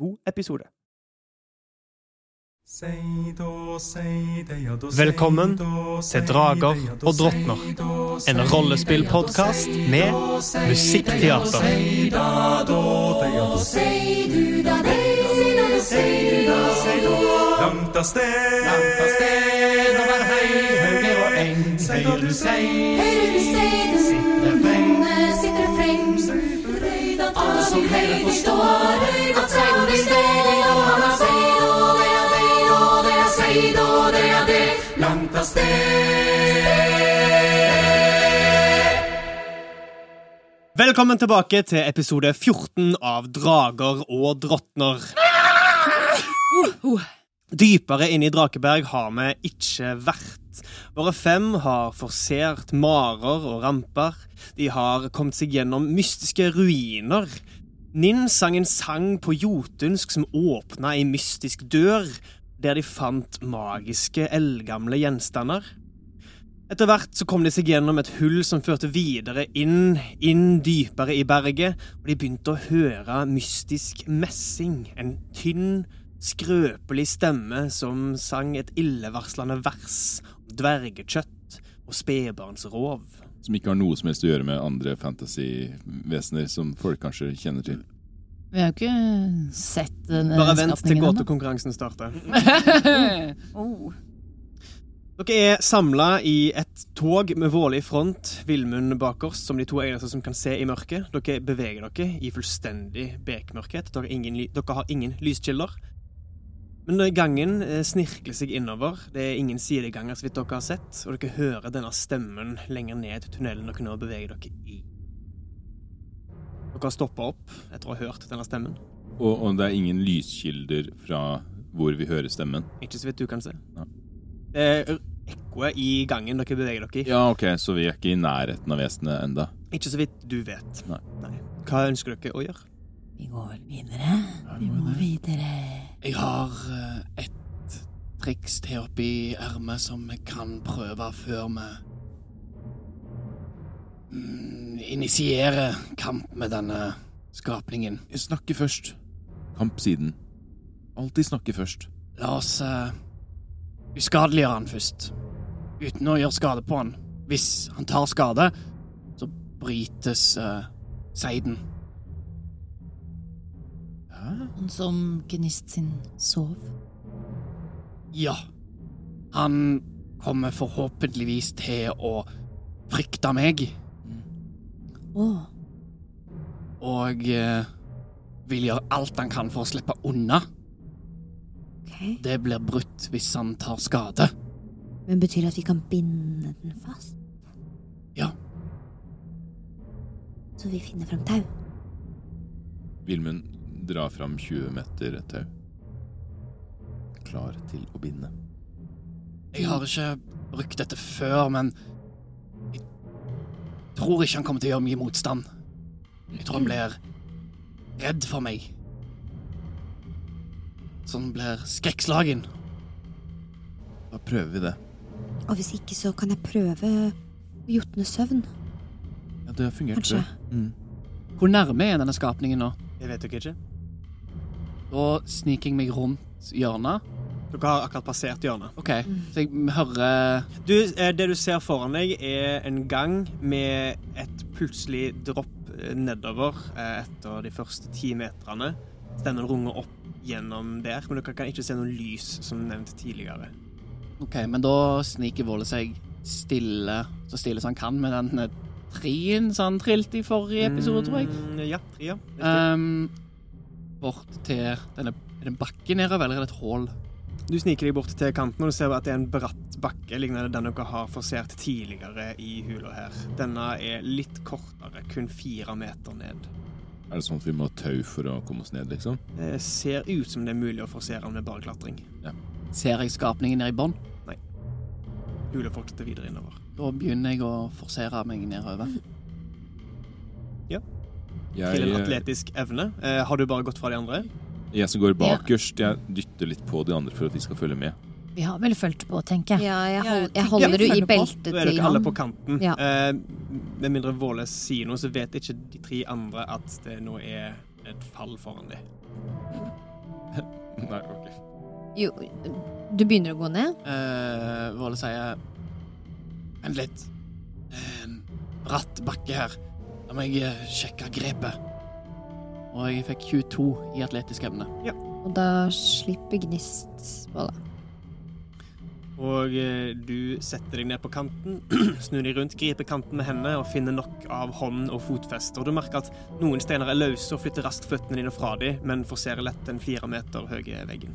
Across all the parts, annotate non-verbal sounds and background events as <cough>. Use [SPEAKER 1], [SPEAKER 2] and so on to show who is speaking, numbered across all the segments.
[SPEAKER 1] god episode.
[SPEAKER 2] Velkommen til Drager og drottner. En rollespillpodkast med musikkteater.
[SPEAKER 3] Langt av sted, langt av sted over hei, høyre og eng. Seier du sei, langt av sted.
[SPEAKER 2] Velkommen tilbake til episode 14 av Drager og drottner. Dypere inn i Drakeberg har vi ikke vært. Våre fem har forsert marer og ramper. De har kommet seg gjennom mystiske ruiner. Ninn sang en sang på jotunsk som åpna ei mystisk dør, der de fant magiske, eldgamle gjenstander. Etter hvert så kom de seg gjennom et hull som førte videre inn, inn dypere i berget, og de begynte å høre mystisk messing, en tynn, skrøpelig stemme som sang et illevarslende vers om dvergekjøtt og spedbarnsrov.
[SPEAKER 4] Som ikke har noe som helst å gjøre med andre fantasy-vesener som folk kanskje kjenner til.
[SPEAKER 5] Vi har jo ikke sett den eh,
[SPEAKER 2] Bare vent til
[SPEAKER 5] skapningen ennå. Oh.
[SPEAKER 2] gåtekonkurransen
[SPEAKER 5] <laughs>
[SPEAKER 2] starter. Dere er samla i et tog med Våle i front, Villmund bakerst, som de to eneste som kan se i mørket. Dere beveger dere i fullstendig bekmørkhet. Dere har ingen, ly- dere har ingen lyskilder. Men eh, gangen eh, snirkler seg innover. Det er ingen sideganger, så vidt dere har sett. Og dere hører denne stemmen lenger ned i tunnelen dere nå beveger dere i. Dere har stoppa opp etter å ha hørt denne stemmen.
[SPEAKER 4] Og, og det er ingen lyskilder fra hvor vi hører stemmen.
[SPEAKER 2] Ikke så vidt du kan se.
[SPEAKER 4] Nei.
[SPEAKER 2] Det er ekkoet i gangen dere beveger dere i.
[SPEAKER 4] Ja, ok, så vi er ikke i nærheten av vesenet enda.
[SPEAKER 2] Ikke så vidt du vet.
[SPEAKER 4] Nei.
[SPEAKER 2] Hva ønsker dere å gjøre?
[SPEAKER 5] Vi går vel videre. Vi må videre.
[SPEAKER 6] Jeg har eh, et triks til oppi ermet som vi kan prøve før vi mm, initierer kamp med denne skapningen.
[SPEAKER 4] Snakke først. Kamp siden. Alltid snakke først.
[SPEAKER 6] La oss eh, uskadeliggjøre han først. Uten å gjøre skade på han. Hvis han tar skade, så brytes eh, seiden.
[SPEAKER 5] Han som gnist sin sov.
[SPEAKER 6] Ja. Han kommer forhåpentligvis til å frykte meg.
[SPEAKER 5] Å,
[SPEAKER 6] og eh, vil gjøre alt han kan for å slippe unna.
[SPEAKER 5] ok.
[SPEAKER 6] Det blir brutt hvis han tar skade.
[SPEAKER 5] Men betyr det at vi kan binde den fast?
[SPEAKER 6] Ja.
[SPEAKER 5] Så vi finner fram tau?
[SPEAKER 4] Vilmund drar fram 20 meter tau. Klar til å binde.
[SPEAKER 6] Jeg har ikke brukt dette før, men jeg tror ikke han kommer til å gjøre mye motstand. Jeg tror han blir redd for meg. Så han blir skrekkslagen.
[SPEAKER 4] Da prøver vi det.
[SPEAKER 7] Og hvis ikke, så kan jeg prøve jotnesøvn.
[SPEAKER 4] Ja, det har fungert
[SPEAKER 7] Kanskje.
[SPEAKER 4] før. Mm.
[SPEAKER 6] Hvor nærme er denne skapningen nå?
[SPEAKER 2] Det vet dere ikke.
[SPEAKER 6] Da sniker jeg meg rundt hjørnet.
[SPEAKER 2] Dere har akkurat passert hjørnet.
[SPEAKER 6] OK, så jeg hører
[SPEAKER 2] Du, eh, det du ser foran deg, er en gang med et plutselig dropp eh, nedover eh, etter de første ti meterne. Stemmen runger opp gjennom der, men dere kan ikke se noe lys, som nevnt tidligere.
[SPEAKER 6] Ok, men da sniker Våle seg stille, så stille som han kan med den eh, trien som han trilte i forrige episode, tror jeg.
[SPEAKER 2] Mm, ja, ja. riktig.
[SPEAKER 6] Ehm, bort til denne er det en bakke nedover, eller er det et hull?
[SPEAKER 2] Du sniker deg bort til kanten, og du ser at det er en bratt bakke, lignende den dere har forsert tidligere i hula her. Denne er litt kortere, kun fire meter ned.
[SPEAKER 4] Er det sånn at vi må ha tau for å komme oss ned, liksom?
[SPEAKER 2] Det Eh, ser ut som det er mulig å forsere med bare klatring.
[SPEAKER 6] Ser jeg skapningen nede i bånn?
[SPEAKER 2] Hula fortsetter videre innover.
[SPEAKER 6] Da begynner jeg å forsere meg nedover.
[SPEAKER 2] Til
[SPEAKER 4] Jeg,
[SPEAKER 2] en atletisk evne. Eh, har du bare gått fra de andre?
[SPEAKER 4] jeg som går bakerst, jeg dytter litt på de andre for at de skal følge med.
[SPEAKER 8] Vi har vel fulgt på, tenker jeg.
[SPEAKER 5] Ja,
[SPEAKER 3] Ja,
[SPEAKER 5] jeg, hold,
[SPEAKER 3] jeg
[SPEAKER 5] jeg holder
[SPEAKER 3] følger
[SPEAKER 5] du i
[SPEAKER 3] på.
[SPEAKER 5] beltet
[SPEAKER 2] Da er
[SPEAKER 5] til
[SPEAKER 2] dere alle
[SPEAKER 5] ham.
[SPEAKER 2] på kanten.
[SPEAKER 5] Ja.
[SPEAKER 2] Eh, med mindre Våle sier noe, så vet ikke de tre andre at det nå er et fall foran dem.
[SPEAKER 4] Nei, ok.
[SPEAKER 5] Jo, du begynner å gå ned?
[SPEAKER 6] Eh, Våle sier Vent litt. Eh, bratt bakke her. Da må jeg eh, sjekke grepet. Og jeg fikk 22 i atletisk evne.
[SPEAKER 5] Og da slipper gnist på det.
[SPEAKER 2] Og eh, du setter deg ned på kanten, <clears throat> snur deg rundt, griper kanten med hendene og finner nok av hånd og fotfeste. Og du merker at noen steiner er løse og flytter raskt føttene dine fra dem, men forserer lett den fire meter høye veggen.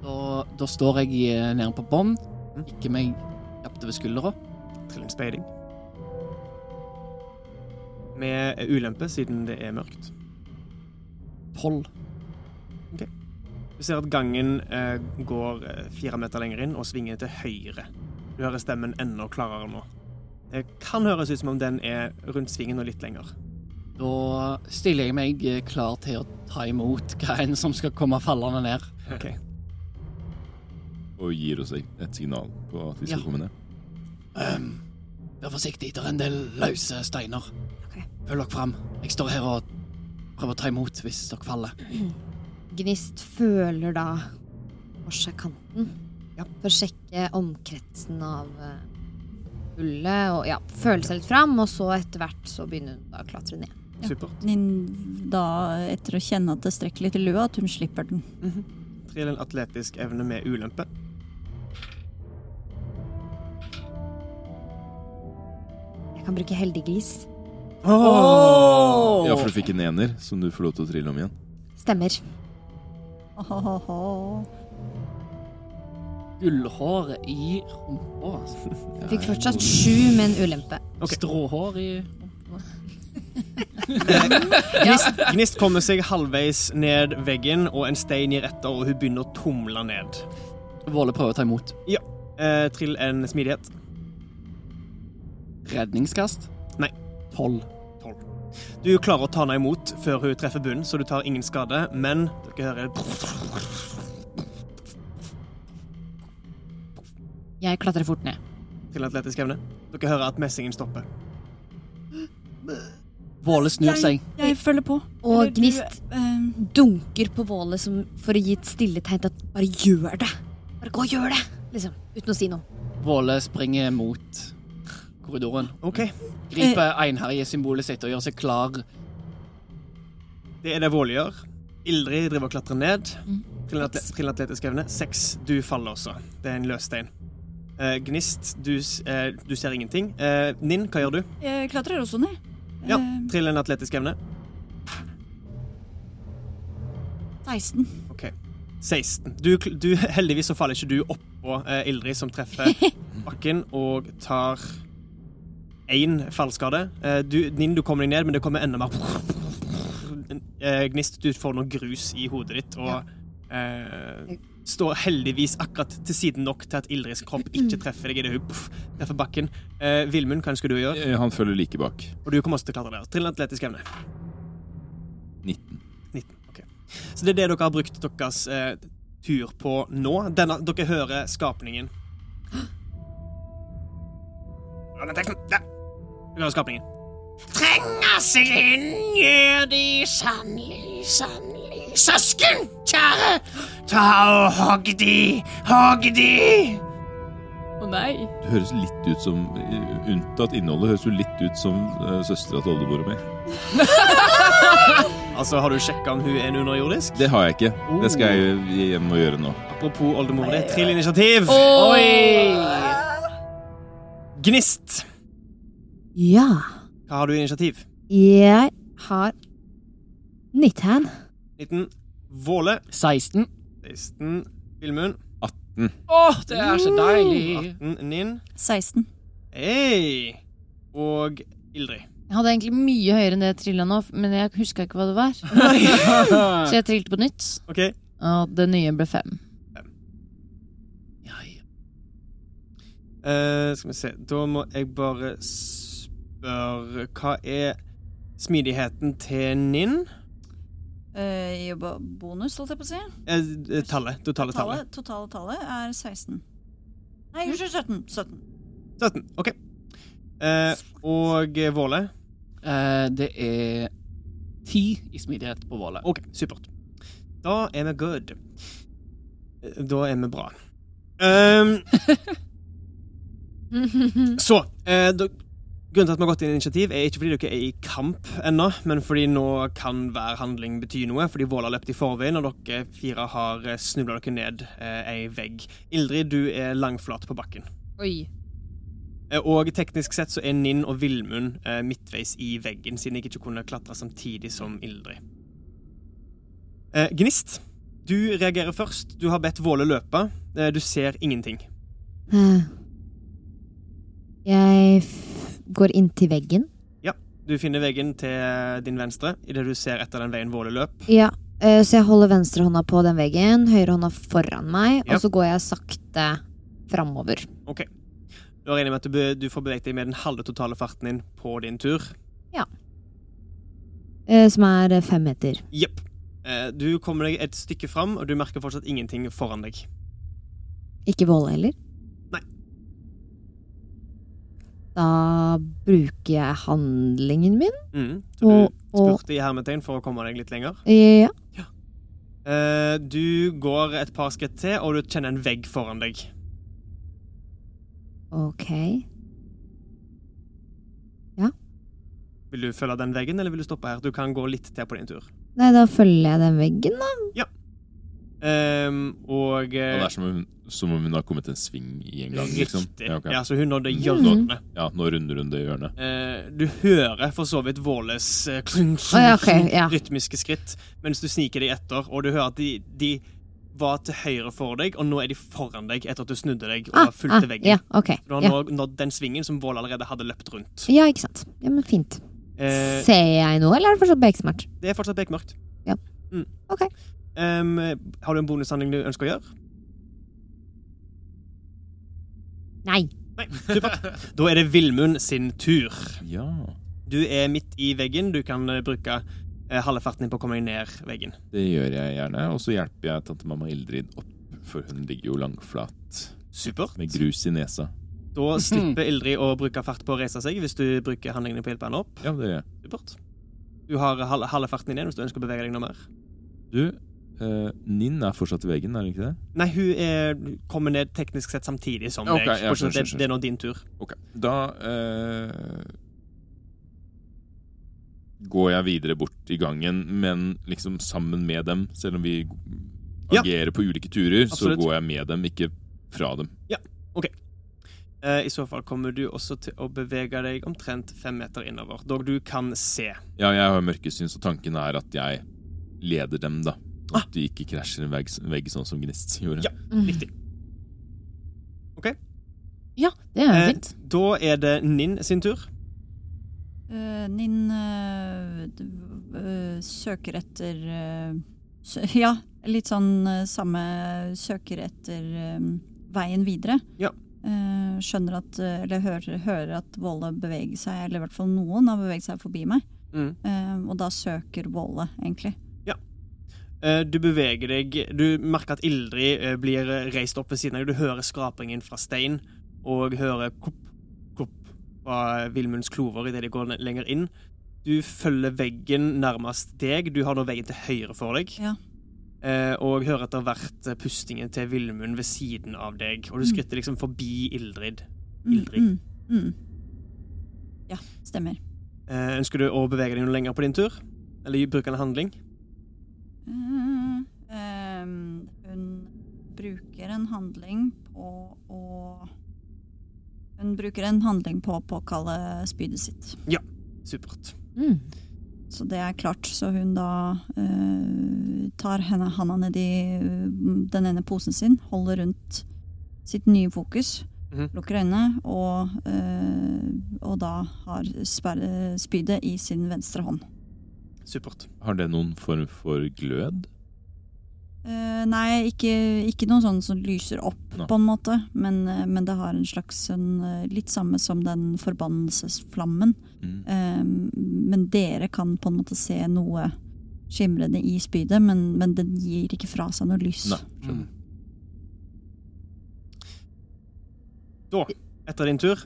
[SPEAKER 6] Da, da står jeg eh, nede på bånn, ikke meg kjapt over skuldra.
[SPEAKER 2] Trill en speiding. Med ulempe, siden det er mørkt.
[SPEAKER 6] Tolv.
[SPEAKER 2] Du ser at gangen eh, går eh, fire meter lenger inn og svinger til høyre. Du hører stemmen enda klarere nå. Det kan høres ut som om den er rundt svingen og litt lenger.
[SPEAKER 6] Da stiller jeg meg eh, klar til å ta imot <laughs> hva enn som skal komme fallende ned.
[SPEAKER 2] Ok.
[SPEAKER 4] Og gir oss et et signal på at vi skal
[SPEAKER 6] Ja.
[SPEAKER 4] komme ned.
[SPEAKER 6] Ehm, vær forsiktig, det er en del løse steiner.
[SPEAKER 5] Ok.
[SPEAKER 6] Følg dere fram. Jeg står her og prøver å ta imot hvis dere faller.
[SPEAKER 5] Gnist føler da for seg kanten. For å sjekke omkretsen av eh, hullet. Og ja, føle seg litt fram, og så etter hvert så begynner hun da å klatre ned.
[SPEAKER 3] Ja.
[SPEAKER 2] Supert.
[SPEAKER 3] Nin, da, etter å kjenne at det strekker litt i lua, at hun slipper den.
[SPEAKER 2] Trill en atletisk evne med ulempe.
[SPEAKER 5] Jeg kan bruke heldig gris.
[SPEAKER 4] Ja, for du fikk en ener som du får lov til å trille om igjen.
[SPEAKER 5] Stemmer.
[SPEAKER 3] Åhåhå.
[SPEAKER 6] Gullhår i rumpa. altså.
[SPEAKER 4] <laughs>
[SPEAKER 5] Jeg fikk fortsatt sju med en ulempe.
[SPEAKER 2] Ok.
[SPEAKER 6] Stråhår i
[SPEAKER 2] Gnist, Eh, gnist kommer seg halvveis ned veggen, og en stein gir etter, og hun begynner å tumle ned.
[SPEAKER 6] Våle prøver å ta imot.
[SPEAKER 2] Eh, trill en smidighet.
[SPEAKER 6] Redningskast?
[SPEAKER 2] Nei.
[SPEAKER 6] Tolv.
[SPEAKER 2] Du klarer å ta henne imot før hun treffer bunnen, så du tar ingen skade, men dere hører
[SPEAKER 8] Jeg klatrer fort ned.
[SPEAKER 2] til atletisk evne. Dere hører at messingen stopper.
[SPEAKER 6] Våle snur seg.
[SPEAKER 3] Jeg følger på.
[SPEAKER 5] Og
[SPEAKER 3] Eller du,
[SPEAKER 5] Gnist-
[SPEAKER 3] ehm,
[SPEAKER 5] Dunker på Våle som for å gi et stille tegn til at bare gjør det. Bare gå og gjør det, liksom. Uten å si noe.
[SPEAKER 6] Våle springer mot korridoren.
[SPEAKER 2] OK.
[SPEAKER 6] Griper
[SPEAKER 2] Eh.
[SPEAKER 6] einherjesymbolet sitt og gjør seg klar.
[SPEAKER 2] Det er det Våle gjør. Ildrid driver og klatrer ned. Trill en atle- trill en atletisk evne. Seks. Du faller også. Det er en løsstein. Eh, gnist, du, s- eh, du ser ingenting. Eh, Ninn, hva gjør du?
[SPEAKER 3] jeg klatrer også ned.
[SPEAKER 2] Ja,
[SPEAKER 3] Ehm,
[SPEAKER 2] Trill en atletisk evne.
[SPEAKER 3] 16.
[SPEAKER 2] OK. 16. Du, kl- du, heldigvis så faller ikke du oppå eh, Ildrid, som treffer bakken og tar én fallskade. Eh, du, Ninn, du kommer deg ned, men det kommer enda mer <laughs> eh, Gnist, du får noe grus i hodet ditt og eh, står heldigvis akkurat til siden nok til at Ildrids kropp ikke treffer deg idet hun puff, treffer bakken. Eh, Vilmund, hva ønsker du å gjøre?
[SPEAKER 4] Eh, Han følger like bak.
[SPEAKER 2] Og du kommer også til å klatre der. Trill en atletisk evne.
[SPEAKER 4] 19.
[SPEAKER 2] 19. ok. Så det er det dere har brukt deres eh, tur på nå. Denne, dere hører skapningen. Ja, den teksten. Der. Du hører skapningen.
[SPEAKER 9] Trenger seg inn, gjør de sannelig, sannelig. Søsken, kjære, ta og hogg de, hogg de.
[SPEAKER 10] Å nei.
[SPEAKER 4] Det høres litt ut som eh, Unntatt innholdet høres jo litt ut som uh, søstera til oldemora mi.
[SPEAKER 2] Altså, Har du sjekka om hun er en underjordisk?
[SPEAKER 4] Det har jeg ikke. Det skal jeg hjem og gjøre nå.
[SPEAKER 2] Apropos oldemor di, trill initiativ.
[SPEAKER 10] Oi!
[SPEAKER 2] Gnist.
[SPEAKER 5] Ja,
[SPEAKER 2] Hva har du i initiativ?
[SPEAKER 5] jeg har Nittan.
[SPEAKER 2] 19. Våle.
[SPEAKER 6] 16.
[SPEAKER 2] 16. Villmund.
[SPEAKER 6] Åh, det er så deilig!
[SPEAKER 2] 18. Ninn.
[SPEAKER 3] 16.
[SPEAKER 2] Hei! Og Ildrid.
[SPEAKER 11] Jeg hadde egentlig mye høyere enn det jeg trilla nå, f- men jeg huska ikke hva det var. Så jeg trilte på nytt,
[SPEAKER 2] OK.
[SPEAKER 11] og det nye ble fem.
[SPEAKER 6] Ja, ja.
[SPEAKER 2] Eh, skal vi se Da må jeg bare spørre Hva er smidigheten til Ninn?
[SPEAKER 3] Eh, i bo- bonus, holdt jeg på å si.
[SPEAKER 2] Eh, eh, tallet. Totale tallet. Mm.
[SPEAKER 3] Tallet, totale tallet er 16. Nei, unnskyld, 17. 17.
[SPEAKER 2] 17. OK. Eh, og eh, Våle?
[SPEAKER 6] Eh, det er ti i smidighet på Våle.
[SPEAKER 2] OK, supert. Da er vi good. Eh, Da er vi bra. Ehm, så eh, da, Grunnen til at vi har gått inn i initiativ, er ikke fordi dere er i kamp ennå, men fordi nå kan hver handling bety noe, fordi Våla har løpt i forveien, og dere fire har snubla dere ned eh, ei vegg. Ildrid, du er langflat på bakken.
[SPEAKER 5] Oi.
[SPEAKER 2] Eh, Og teknisk sett så er Ninn og Vilmund eh, midtveis i veggen, siden jeg ikke kunne klatre samtidig som Ildrid. Eh, Gnist, du reagerer først. Du har bedt Våle løpe. Eh, du ser ingenting.
[SPEAKER 5] Eh, Jeg f går inntil veggen.
[SPEAKER 2] Du finner veggen til eh, din venstre idet du ser etter den veien Våle løp.
[SPEAKER 5] Ja, eh, så jeg holder venstrehånda på den veggen, høyrehånda foran meg,
[SPEAKER 2] Ja.
[SPEAKER 5] og så går jeg sakte framover.
[SPEAKER 2] Da regner jeg med at du, be, du får beveget deg med den halve totale farten din på din tur.
[SPEAKER 5] eh, Som er eh, fem meter.
[SPEAKER 2] Jepp. Eh, du kommer deg et stykke fram, og du merker fortsatt ingenting foran deg.
[SPEAKER 5] Ikke Våle heller?
[SPEAKER 2] Nei.
[SPEAKER 5] Da bruker jeg handlingen min.
[SPEAKER 2] Mm. Så
[SPEAKER 5] Og-
[SPEAKER 2] du
[SPEAKER 5] og-
[SPEAKER 2] spurte i hermetegn for å komme deg litt lenger.
[SPEAKER 5] Eh, Ja.
[SPEAKER 2] Eh, du går et par skritt til, og du kjenner en vegg foran deg.
[SPEAKER 5] Ok.
[SPEAKER 2] Vil du følge den veggen, eller vil du stoppe her? Du kan gå litt til på din tur.
[SPEAKER 5] Nei, da følger jeg den veggen, da.
[SPEAKER 2] Ehm, og
[SPEAKER 4] Ja,
[SPEAKER 2] eh,
[SPEAKER 4] det er som om, som om hun har kommet en sving i en gang, liksom.
[SPEAKER 2] Riktig.
[SPEAKER 4] Ja,
[SPEAKER 2] Ja,
[SPEAKER 4] ok.
[SPEAKER 2] så hun nådde hjørnet.
[SPEAKER 4] ja, nå runder hun det hjørnet.
[SPEAKER 2] Eh, du hører for så vidt Våles eh, klung, klung,
[SPEAKER 5] Å, ja, ok,
[SPEAKER 2] klung,
[SPEAKER 5] ja.
[SPEAKER 2] rytmiske skritt mens du sniker deg etter, og du hører at de, de var til høyre for deg, og nå er de foran deg etter at du snudde deg og fulgte veggen.
[SPEAKER 5] Ah, ja, ok.
[SPEAKER 2] Du har
[SPEAKER 5] Ja.
[SPEAKER 2] nå nådd den svingen som Våle allerede hadde løpt rundt.
[SPEAKER 5] ja, ikke sant. Ja, men fint.
[SPEAKER 2] Eh,
[SPEAKER 5] Ser jeg noe, eller er det fortsatt beksmart?
[SPEAKER 2] det er fortsatt bekmørkt.
[SPEAKER 5] Ja.
[SPEAKER 2] Mm.
[SPEAKER 5] Ok.
[SPEAKER 2] Ehm, har du en bonushandling du ønsker å gjøre?
[SPEAKER 5] Nei. <laughs>
[SPEAKER 2] Nei, supert. Da er det Vilmund sin tur.
[SPEAKER 4] Ja.
[SPEAKER 2] Du er midt i veggen. Du kan eh, bruke eh, halve farten din på å komme deg ned veggen.
[SPEAKER 4] Det gjør jeg gjerne. Og så hjelper jeg tante mamma Ildrid opp, for hun ligger jo langflat
[SPEAKER 2] Supert.
[SPEAKER 4] med grus i nesa.
[SPEAKER 2] Da slipper Ildrid å bruke fart på å reise seg hvis du bruker handlingene på å hjelpe henne opp.
[SPEAKER 4] Ja, det gjør jeg.
[SPEAKER 2] Supert. Du har halve, halve farten din igjen hvis du ønsker å bevege deg noe mer.
[SPEAKER 4] Du, eh, Ninn er fortsatt i veggen, er hun ikke det?
[SPEAKER 2] Nei, hun er, kommer ned teknisk sett samtidig som
[SPEAKER 4] Ok,
[SPEAKER 2] deg.
[SPEAKER 4] ja,
[SPEAKER 2] bortsett fra at
[SPEAKER 4] skjønner, skjønner,
[SPEAKER 2] det, det er nå din tur.
[SPEAKER 4] Ok, da eh, går jeg videre bort i gangen, men liksom sammen med dem. Selv om vi
[SPEAKER 2] Ja.
[SPEAKER 4] agerer på ulike turer,
[SPEAKER 2] Absolutt.
[SPEAKER 4] så går jeg med dem, ikke fra dem.
[SPEAKER 2] Eh, I så fall kommer du også til å bevege deg omtrent fem meter innover, dog du kan se.
[SPEAKER 4] Ja, jeg har mørkesyn, så tanken er at jeg leder dem, da. At de ikke krasjer en vegg, vegg sånn som Gnist gjorde.
[SPEAKER 2] Ja. Riktig.
[SPEAKER 11] Ja, det er jo
[SPEAKER 2] Eh,
[SPEAKER 11] fint.
[SPEAKER 2] Da er det Ninn sin tur.
[SPEAKER 3] Eh, Ninn eh, d- eh, søker etter eh, sø <laughs> Ja, litt sånn eh, samme søker etter eh, veien videre.
[SPEAKER 2] Ja.
[SPEAKER 3] Eh, skjønner at eh, Eller hører, hører at Volle beveger seg, eller i hvert fall noen har beveget seg forbi meg.
[SPEAKER 2] Mm.
[SPEAKER 3] Eh, og da søker Volle, egentlig.
[SPEAKER 2] Eh, Du beveger deg Du merker at Ildrid eh, blir eh, reist opp ved siden av deg. Du hører skrapingen fra stein, og hører klopp, klopp fra Vilmunds klover idet de går ne- lenger inn. Du følger veggen nærmest deg. Du har nå veggen til høyre for deg.
[SPEAKER 3] Ja.
[SPEAKER 2] Eh, Og hører etter hvert eh, pustingen til Vilmund ved siden av deg. Og du
[SPEAKER 3] Mm.
[SPEAKER 2] skritter liksom forbi Ildrid.
[SPEAKER 3] Mm,
[SPEAKER 2] Ildrid.
[SPEAKER 3] Mm, mm. Ja, stemmer.
[SPEAKER 2] Eh, Ønsker du å bevege deg noe lenger på din tur? Eller bruke en handling?
[SPEAKER 3] Mm, ehm, hun bruker en handling på å Hun bruker en handling på å påkalle spydet sitt.
[SPEAKER 2] Supert.
[SPEAKER 5] Mm.
[SPEAKER 3] Så det er klart. Så hun da eh, tar henne, eh, handa nedi den ene posen sin, holder rundt sitt nye fokus,
[SPEAKER 2] Mhm.
[SPEAKER 3] Lukker øynene, og, eh, og da har sperre- spydet i sin venstre hånd.
[SPEAKER 2] Supert.
[SPEAKER 4] Har det noen form for glød?
[SPEAKER 3] Eh, nei, ikke, ikke noe sånn som lyser opp,
[SPEAKER 4] Nei.
[SPEAKER 3] på en måte, men, eh, men det har en slags en, eh, Litt samme som den forbannelsesflammen.
[SPEAKER 4] Mm.
[SPEAKER 3] Eh, men dere kan på en måte se noe skimrende i spydet, men, men den gir ikke fra seg noe lys.
[SPEAKER 4] Nei, skjønner.
[SPEAKER 2] Etter din tur,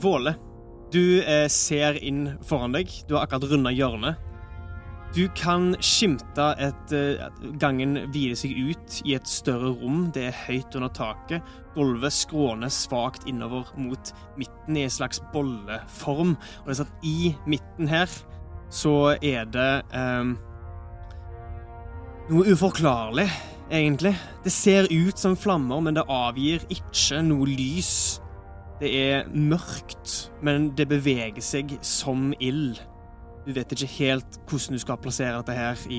[SPEAKER 2] Våle, du eh, ser inn foran deg. Du har akkurat runda hjørnet. Du kan skimte et eh, at Gangen hvile seg ut i et større rom. Det er høyt under taket. Gulvet skråner svakt innover mot midten i en slags bolleform. Og det er sånn at i midten her så er det eh, noe uforklarlig, egentlig. Det ser ut som flammer, men det avgir ikke noe lys. Det er mørkt, men det beveger seg som ild. Du vet ikke helt hvordan du skal plassere dette her i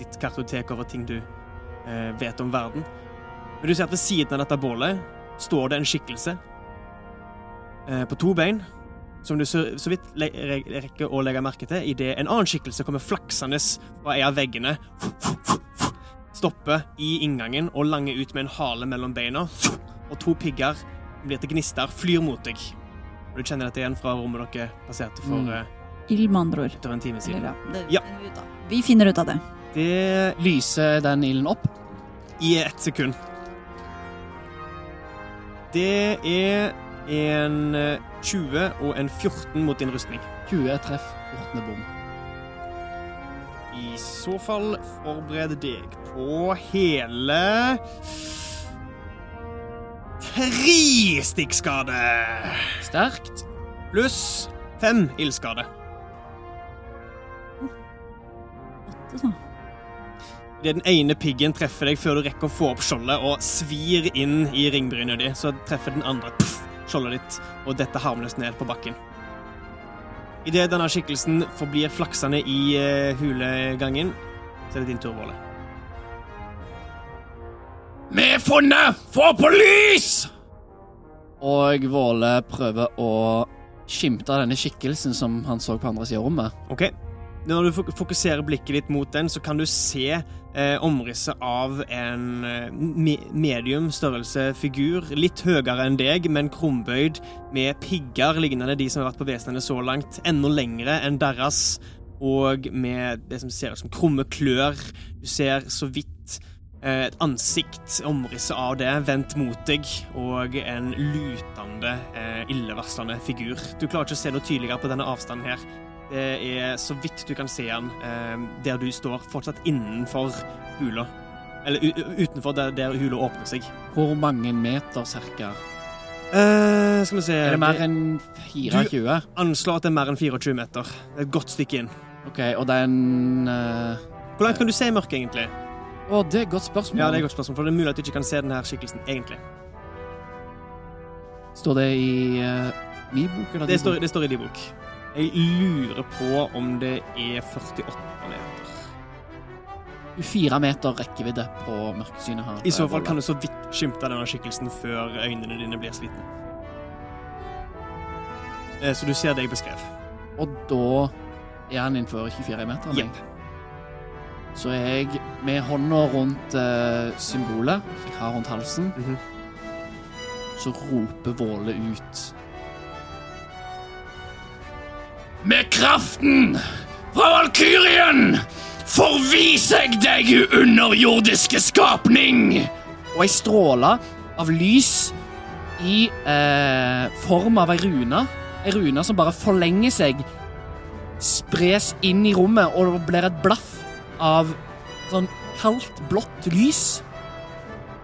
[SPEAKER 2] ditt kartotek over ting du eh, vet om verden. Men du ser at ved siden av dette bålet står det en skikkelse eh, på to bein, som du så, så vidt le re rekker å legge merke til idet en annen skikkelse kommer flaksende fra en av veggene, stopper i inngangen og langer ut med en hale mellom beina, og to pigger blir til gnister, flyr mot deg. Og du kjenner dette igjen fra rommet dere passerte for
[SPEAKER 6] Mm.
[SPEAKER 2] eh,
[SPEAKER 3] Ild, med andre ord.
[SPEAKER 2] etter en time
[SPEAKER 3] Eller,
[SPEAKER 2] siden. Ja.
[SPEAKER 3] ja, det finner vi ut av. Vi finner ut av det.
[SPEAKER 2] Det
[SPEAKER 6] Lyser den ilden opp?
[SPEAKER 2] i ett sekund. Det er en eh, 20 og en 14 mot din rustning.
[SPEAKER 6] 20 treff, 14 bom.
[SPEAKER 2] I så fall forbered deg på hele Tre stikkskade
[SPEAKER 6] Sterkt.
[SPEAKER 2] pluss fem ildskade.
[SPEAKER 3] Åtte, sånn. så.
[SPEAKER 2] Det den ene piggen treffer deg før du rekker å få opp skjoldet og svir inn i ringbrynet ditt, så treffer den andre pff, skjoldet ditt og detter harmløst ned på bakken. Idet denne skikkelsen forblir flaksende i eh, hulegangen, så er det din tur, Våle.
[SPEAKER 6] Vi er funnet! Få på lys! Og Våle prøver å skimte denne skikkelsen som han så på andre siden av rommet.
[SPEAKER 2] Ok. Når du fok- fokuserer blikket ditt mot den, så kan du se eh, omrisset av en eh, me medium størrelse figur, litt høyere enn deg, men krumbøyd, med pigger lignende de som har vært på vesenene så langt, enda lengre enn deres, og med det som ser ut som krumme klør. Du ser så vidt eh, et ansikt, omrisset av det, vendt mot deg, og en lutende, eh, illevarslende figur. Du klarer ikke å se noe tydeligere på denne avstanden her. Det er så vidt du kan se han eh, der du står, fortsatt innenfor hula. Eller u u- utenfor der, der hula åpner seg.
[SPEAKER 6] Hvor mange meter cirka?
[SPEAKER 2] Eh, skal vi se
[SPEAKER 6] Er det mer enn 24?
[SPEAKER 2] Anslår at det er mer enn 24 meter. Det er Et godt stykke inn.
[SPEAKER 6] Ok, og den eh,
[SPEAKER 2] Hvor langt kan du se i mørket, egentlig?
[SPEAKER 6] Å, det er et godt spørsmål.
[SPEAKER 2] Ja, det er et godt spørsmål, for det er mulig at du ikke kan se denne her skikkelsen, egentlig.
[SPEAKER 6] Står det i eh, min bok, eller
[SPEAKER 2] Det
[SPEAKER 6] din
[SPEAKER 2] står,
[SPEAKER 6] bok?
[SPEAKER 2] det står i din bok. Jeg lurer på om det er 48 meter.
[SPEAKER 6] 24 meter rekkevidde på mørkesynet her.
[SPEAKER 2] I så fall kan du så vidt skimte denne skikkelsen før øynene dine blir slitne. Eh, så du ser det jeg beskrev.
[SPEAKER 6] Og da er han innenfor 24 meter.
[SPEAKER 2] Jepp.
[SPEAKER 6] Så er jeg med hånda rundt eh, symbolet som jeg har rundt halsen,
[SPEAKER 2] Mhm.
[SPEAKER 6] så roper Våle ut Med kraften fra Valkyrien forviser jeg deg, underjordiske skapning! Og ei stråle av lys i eh, form av ei rune. Ei rune som bare forlenger seg, spres inn i rommet og det blir et blaff av sånn kaldt, blått lys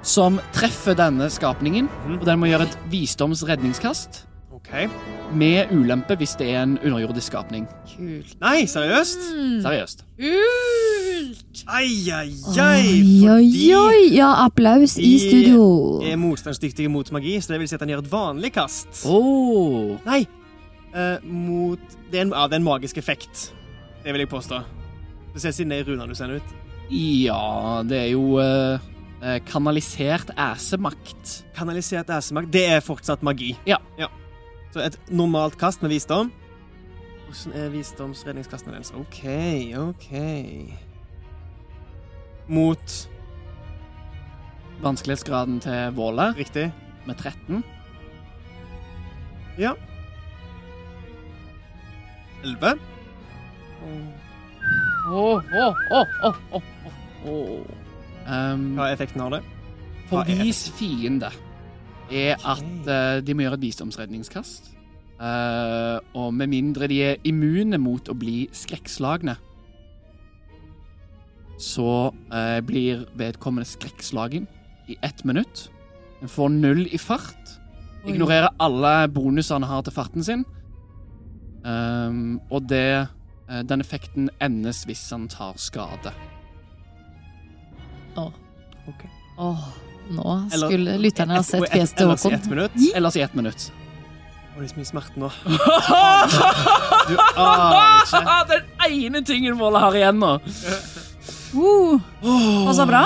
[SPEAKER 6] som treffer denne skapningen.
[SPEAKER 2] Mhm.
[SPEAKER 6] Og den må gjøre et visdomsredningskast
[SPEAKER 2] OK.
[SPEAKER 6] med ulempe hvis det er en underjordisk skapning.
[SPEAKER 11] Kult.
[SPEAKER 2] Nei, seriøst?
[SPEAKER 6] Mm. Seriøst.
[SPEAKER 11] Kult!
[SPEAKER 2] Ai, ai,
[SPEAKER 5] Oi, oi,
[SPEAKER 2] ai!
[SPEAKER 5] oi! Ja, applaus i
[SPEAKER 2] i-
[SPEAKER 5] studio.
[SPEAKER 2] Fordi er motstandsdyktige mot magi, så det vil si at han gjør et vanlig kast.
[SPEAKER 6] Oh.
[SPEAKER 2] Nei! Eh, mot det er, en, ja, det er en magisk effekt. Det vil jeg påstå. Du ser siden det er runene du sender ut.
[SPEAKER 6] Ja, det er jo eh, eh, kanalisert æsemakt.
[SPEAKER 2] Kanalisert æsemakt, det er fortsatt magi.
[SPEAKER 6] Ja.
[SPEAKER 2] Så et normalt kast med visdom. Hvordan er visdomsredningskastene deres? OK, OK Mot
[SPEAKER 6] Vanskelighetsgraden til Våle
[SPEAKER 2] Riktig.
[SPEAKER 6] med 13.
[SPEAKER 2] Elleve.
[SPEAKER 11] Mm.
[SPEAKER 6] Åh, åh, åh, åh, åh, åh, åh. Um,
[SPEAKER 2] Hva er effekten av det? hva er
[SPEAKER 6] Forvis fiende er at eh, de må gjøre et visdomsredningskast. Eh, og med mindre de er immune mot å bli skrekkslagne, så eh, blir vedkommende skrekkslagen i ett minutt. En får null i fart. Ignorerer alle bonusene han har til farten sin. Um, og det eh, Den effekten endes hvis han tar skade.
[SPEAKER 11] Åh, nå
[SPEAKER 2] Eller-
[SPEAKER 11] skulle lytterne ha sett fjeset til
[SPEAKER 2] Ellers i
[SPEAKER 11] Håkon.
[SPEAKER 2] ett minutt.
[SPEAKER 6] Ellers i ett minutt.
[SPEAKER 2] Å, det er så mye smerte
[SPEAKER 6] <laughs>
[SPEAKER 2] nå. Du aner ikke.
[SPEAKER 6] den ene tingen Våle har igjen nå.
[SPEAKER 3] Uh, passa bra.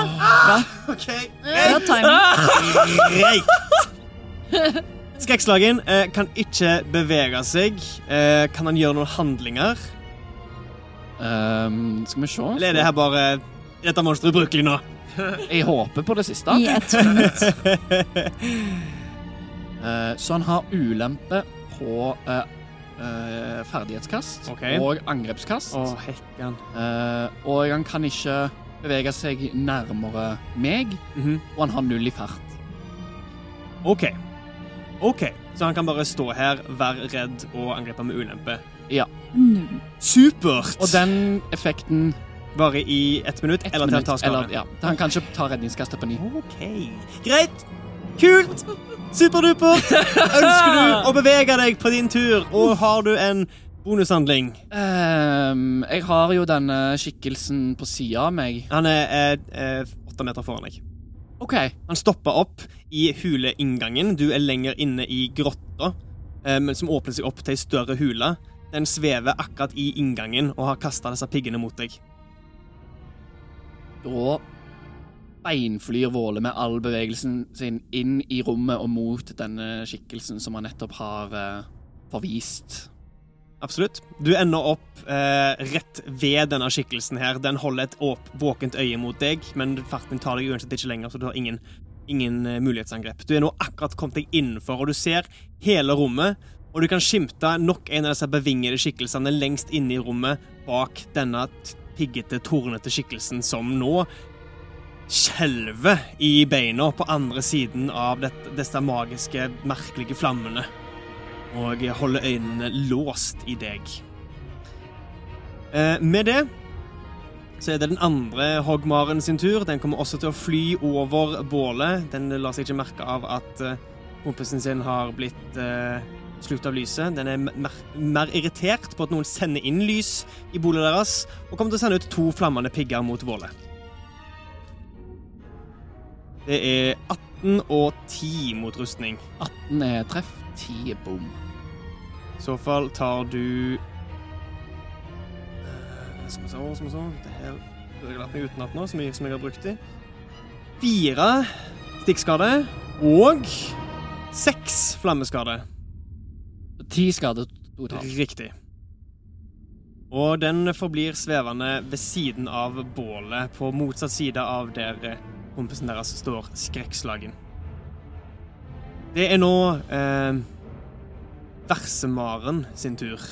[SPEAKER 2] OK.
[SPEAKER 3] Bra timing.
[SPEAKER 2] Greit. Skrekkslagen eh, kan ikke bevege seg. Eh, kan han gjøre noen handlinger?
[SPEAKER 6] Um, skal vi se.
[SPEAKER 2] Eller er det her bare Dette monsteret ubrukelig nå.
[SPEAKER 6] Jeg håper på det siste.
[SPEAKER 3] I ett minutt.
[SPEAKER 6] Eh, så han har ulempe på eh, eh, ferdighetskast
[SPEAKER 2] Ok.
[SPEAKER 6] og angrepskast.
[SPEAKER 2] Å, hekkan.
[SPEAKER 6] Eh, og han kan ikke bevege seg nærmere meg,
[SPEAKER 2] Mhm.
[SPEAKER 6] og han har null i fart.
[SPEAKER 2] OK. OK. Så han kan bare stå her, være redd og angripe med ulempe.
[SPEAKER 3] Null.
[SPEAKER 2] Supert!
[SPEAKER 6] Og den effekten
[SPEAKER 2] Bare i ett minutt,
[SPEAKER 6] ett
[SPEAKER 2] eller til han tar
[SPEAKER 6] minutt,
[SPEAKER 2] skade.
[SPEAKER 6] eller- ja, Han kan ikke ta redningskastet på ny.
[SPEAKER 2] OK. Greit. Kult.
[SPEAKER 6] <laughs>
[SPEAKER 2] Superduper. Ønsker du å bevege deg på din tur, og har du en bonushandling?
[SPEAKER 6] Ehm, jeg har jo denne skikkelsen på sida av meg.
[SPEAKER 2] Han er eh, eh, åtte meter foran deg.
[SPEAKER 6] OK.
[SPEAKER 2] Han stopper opp i huleinngangen. Du er lenger inne i grotta, eh, men som åpner seg opp til ei større hule. Den svever akkurat i inngangen og har kasta disse piggene mot deg.
[SPEAKER 6] Da beinflyr Våle med all bevegelsen sin inn i rommet og mot denne skikkelsen som han nettopp har eh, forvist.
[SPEAKER 2] Absolutt. Du ender opp eh, rett ved denne skikkelsen her. Den holder et åp våkent øye mot deg, men farten tar deg uansett ikke lenger, så du har ingen, ingen eh, mulighetsangrep. Du er nå akkurat kommet deg innenfor, og du ser hele rommet, og du kan skimte nok en av disse bevingede skikkelsene lengst inne i rommet bak denne t- piggete, tornete skikkelsen som nå skjelver i beina på andre siden av dette, disse magiske, merkelige flammene og holde øynene låst i deg. Eh, med det så er det den andre hoggmaren sin tur. Den kommer også til å fly over bålet. Den lar seg ikke merke av at eh, kompisen sin har blitt eh, slukt av lyset. Den er mer, mer irritert på at noen sender inn lys i bolet deres, og kommer til å sende ut to flammende pigger mot bålet. Det er 18 og 10 mot rustning.
[SPEAKER 6] Den er treff, ti er bom.
[SPEAKER 2] I så fall tar du Eh, Skal vi se, skal vi se Det her burde jeg lært meg utenat nå, så mye som jeg har brukt i. Fire stikkskade og seks flammeskade.
[SPEAKER 6] Ti skader
[SPEAKER 2] <laughs>
[SPEAKER 6] totalt.
[SPEAKER 2] Riktig. Og den forblir svevende ved siden av bålet, på motsatt side av der eh, kompisen deres står skrekkslagen. Det er nå eh, versemaren sin tur.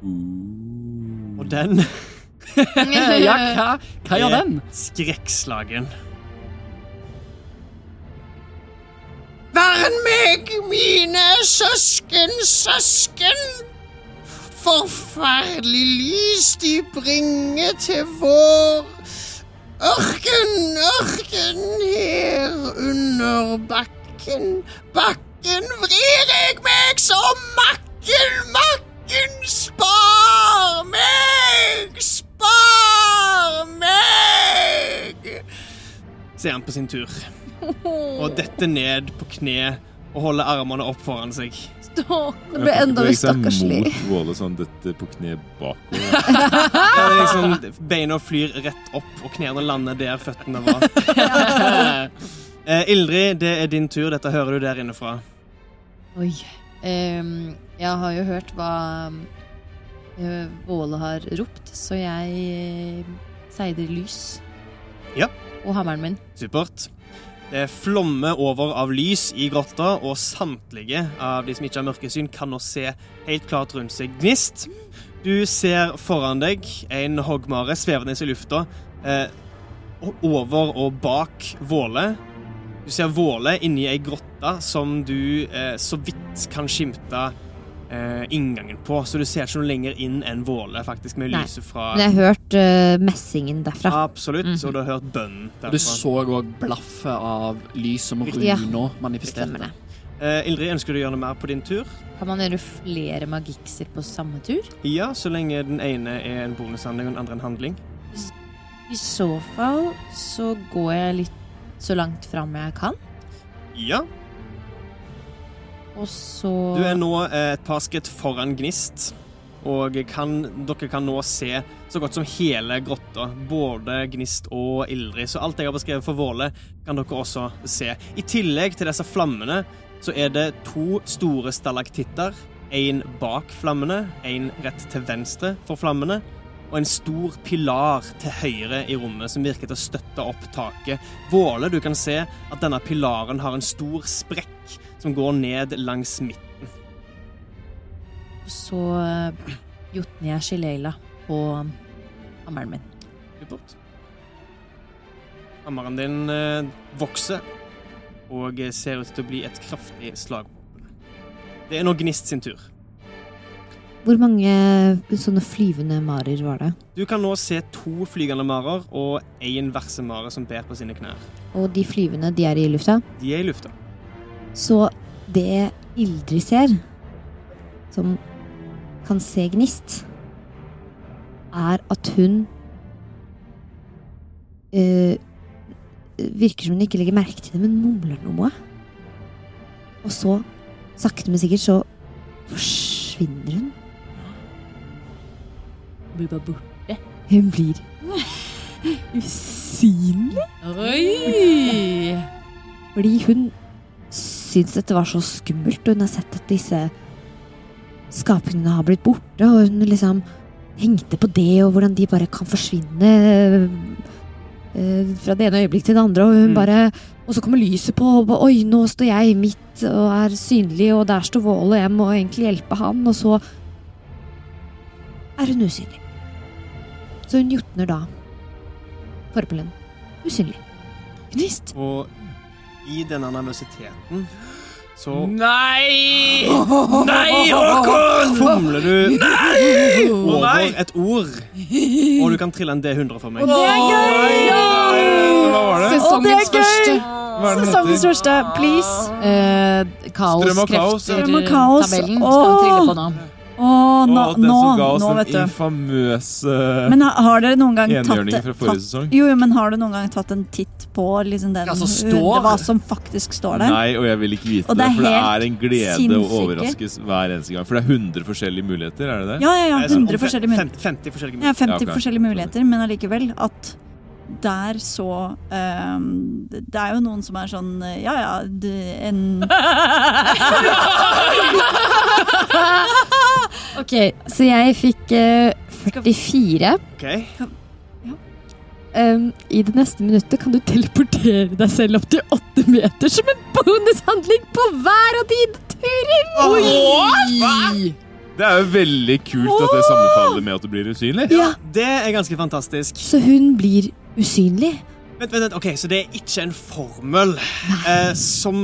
[SPEAKER 4] Mm.
[SPEAKER 2] Og den
[SPEAKER 6] Ja, hva, hva gjør
[SPEAKER 2] er
[SPEAKER 6] den?
[SPEAKER 2] Skrekkslagen.
[SPEAKER 12] Vern meg, mine søsken, søsken! Forferdelig lys de bringer til vår ørken, ørken her under bakken. Bakken vrir jeg meg som makken, makken, spar meg, spar meg!
[SPEAKER 2] ser han på sin tur. Og detter ned på kne og holder armene opp foran seg.
[SPEAKER 5] Det ble enda mer stakkarslig.
[SPEAKER 4] Mot Våle sånn dette på kne bakover. <laughs>
[SPEAKER 2] Ja, det er liksom, beina flyr rett opp, og knærne lander der føttene var. Eh, Ildrid, det er din tur. Dette hører du der inne fra.
[SPEAKER 11] Oi. Ehm, jeg har jo hørt hva eh, Våle har ropt, så jeg eh, seider lys.
[SPEAKER 2] Ja.
[SPEAKER 11] Og hammeren min.
[SPEAKER 2] Supert. Det flommer over av lys i grotta, og samtlige av de som ikke har mørkesyn, kan nå se helt klart rundt seg gnist. Du ser foran deg en hoggmare svevende i lufta, eh, og over og bak Våle. Du ser Våle inni ei grotte som du eh, så vidt kan skimte eh, inngangen på, så du ser ikke noe lenger inn enn Våle, faktisk, med
[SPEAKER 5] Nei.
[SPEAKER 2] lyset fra
[SPEAKER 5] Men jeg har hørt eh, messingen derfra.
[SPEAKER 2] Absolutt, og du har hørt bønnen
[SPEAKER 6] Og du så òg blaffet av lys som
[SPEAKER 5] Ja.
[SPEAKER 6] runa
[SPEAKER 5] Stemmer
[SPEAKER 6] manifesterte.
[SPEAKER 5] det.
[SPEAKER 2] Eh, Ildrid, ønsker du å gjøre noe mer på din tur?
[SPEAKER 11] Kan man gjøre flere magikser på samme tur?
[SPEAKER 2] Ja, så lenge den ene er en bonushandling og den andre en handling.
[SPEAKER 11] I så fall så går jeg litt så langt fram jeg kan,
[SPEAKER 2] Ja.
[SPEAKER 11] og så
[SPEAKER 2] Du er nå eh, et par skritt foran Gnist, og kan, dere kan nå se så godt som hele grotta. Både Gnist og Ildrid. Så alt jeg har beskrevet for Våle, kan dere også se. I tillegg til disse flammene, så er det to store stalaktitter. En bak flammene, en rett til venstre for flammene. og en stor pilar til høyre i rommet som virker til å støtte opp taket. Våle, du kan se at denne pilaren har en stor sprekk som går ned langs midten.
[SPEAKER 11] Så eh, jotner jeg Shileila på hammeren min.
[SPEAKER 2] Supert. Hammeren din eh, vokser og eh, ser ut til å bli et kraftig slagvåpen. Det er nå Gnist sin tur.
[SPEAKER 5] Hvor mange eh, sånne flyvende marer var det?
[SPEAKER 2] Du kan nå se to flygende marer og én versemare som ber på sine knær.
[SPEAKER 5] Og de flyvende, de er i lufta?
[SPEAKER 2] De er i lufta.
[SPEAKER 5] Så det Ildrid ser, som kan se gnist, er at hun eh, Virker som hun ikke legger merke til det, men mumler noe. Og så, sakte, men sikkert, så forsvinner hun.
[SPEAKER 11] Blir bare borte.
[SPEAKER 5] Hun blir usynlig.
[SPEAKER 11] Oi!
[SPEAKER 5] Fordi hun syns dette var så skummelt, og hun har sett at disse skapningene har blitt borte, og hun liksom hengte på det, og hvordan de bare kan forsvinne eh, fra det ene øyeblikket til det andre, og hun
[SPEAKER 2] Mm.
[SPEAKER 5] bare Og så kommer lyset på, og ba- oi, nå står jeg midt og er synlig, og der står Vål, og jeg må egentlig hjelpe han, og så er hun usynlig. Så hun jotner da forbelen usynlig. Gnist.
[SPEAKER 2] Og i denne nervøsiteten så
[SPEAKER 6] Nei!
[SPEAKER 13] Nei, Håkon!
[SPEAKER 2] fomler du
[SPEAKER 13] Nei!
[SPEAKER 2] over
[SPEAKER 13] Nei!
[SPEAKER 2] et ord, og du kan trille en D100 for meg.
[SPEAKER 13] er gøy!
[SPEAKER 4] Hva var det?
[SPEAKER 11] Sesongens første.
[SPEAKER 4] Hva er det den
[SPEAKER 14] Sesongens
[SPEAKER 4] heter?
[SPEAKER 14] første, please.
[SPEAKER 11] Eh, kaos,
[SPEAKER 4] Strøm og kaos, ja.
[SPEAKER 11] krefter,
[SPEAKER 3] Strøm og kaos.
[SPEAKER 11] tabellen skal vi trille på nå.
[SPEAKER 3] Å, nå,
[SPEAKER 4] Å, den
[SPEAKER 3] nå,
[SPEAKER 4] som ga oss
[SPEAKER 3] nå, vet
[SPEAKER 4] den
[SPEAKER 3] du.
[SPEAKER 4] infamøse
[SPEAKER 3] Men har- har dere noen gang tatt,
[SPEAKER 4] enhjørningen fra
[SPEAKER 3] tatt
[SPEAKER 4] forrige sesong.
[SPEAKER 3] jo, jo, men har du noen gang tatt en titt på liksom den,
[SPEAKER 6] Hva som står?
[SPEAKER 3] hva som faktisk står der?
[SPEAKER 4] Nei, og jeg vil ikke vite
[SPEAKER 3] Og
[SPEAKER 4] det,
[SPEAKER 3] det er
[SPEAKER 4] for det
[SPEAKER 3] helt
[SPEAKER 4] er en glede å
[SPEAKER 3] sinnssyke.
[SPEAKER 4] overraskes hver eneste gang. For det er 100 forskjellige muligheter, er det det?
[SPEAKER 3] Ja, ja, ja.
[SPEAKER 2] Eh, sånn
[SPEAKER 3] 100 forskjellige muligheter.
[SPEAKER 2] 50, 50 forskjellige
[SPEAKER 3] Ja,
[SPEAKER 2] minutter.
[SPEAKER 3] 50
[SPEAKER 4] Ja, ok.
[SPEAKER 3] forskjellige muligheter, men allikevel at der så ehm, Det det er jo noen som er sånn Ja ja, det, en
[SPEAKER 5] Ok, så jeg fikk eh, 44.
[SPEAKER 2] Ok.
[SPEAKER 5] Um, I det neste minuttet kan du teleportere deg selv opp til åtte meter som en bonushandling på hver av dine turer!
[SPEAKER 4] Det er jo veldig kult at det sammenfaller med at du blir usynlig.
[SPEAKER 5] Ja,
[SPEAKER 2] Det er ganske fantastisk.
[SPEAKER 5] Så hun blir usynlig.
[SPEAKER 2] Vent, vent, vent. Ok, Så det er ikke en formel eh, som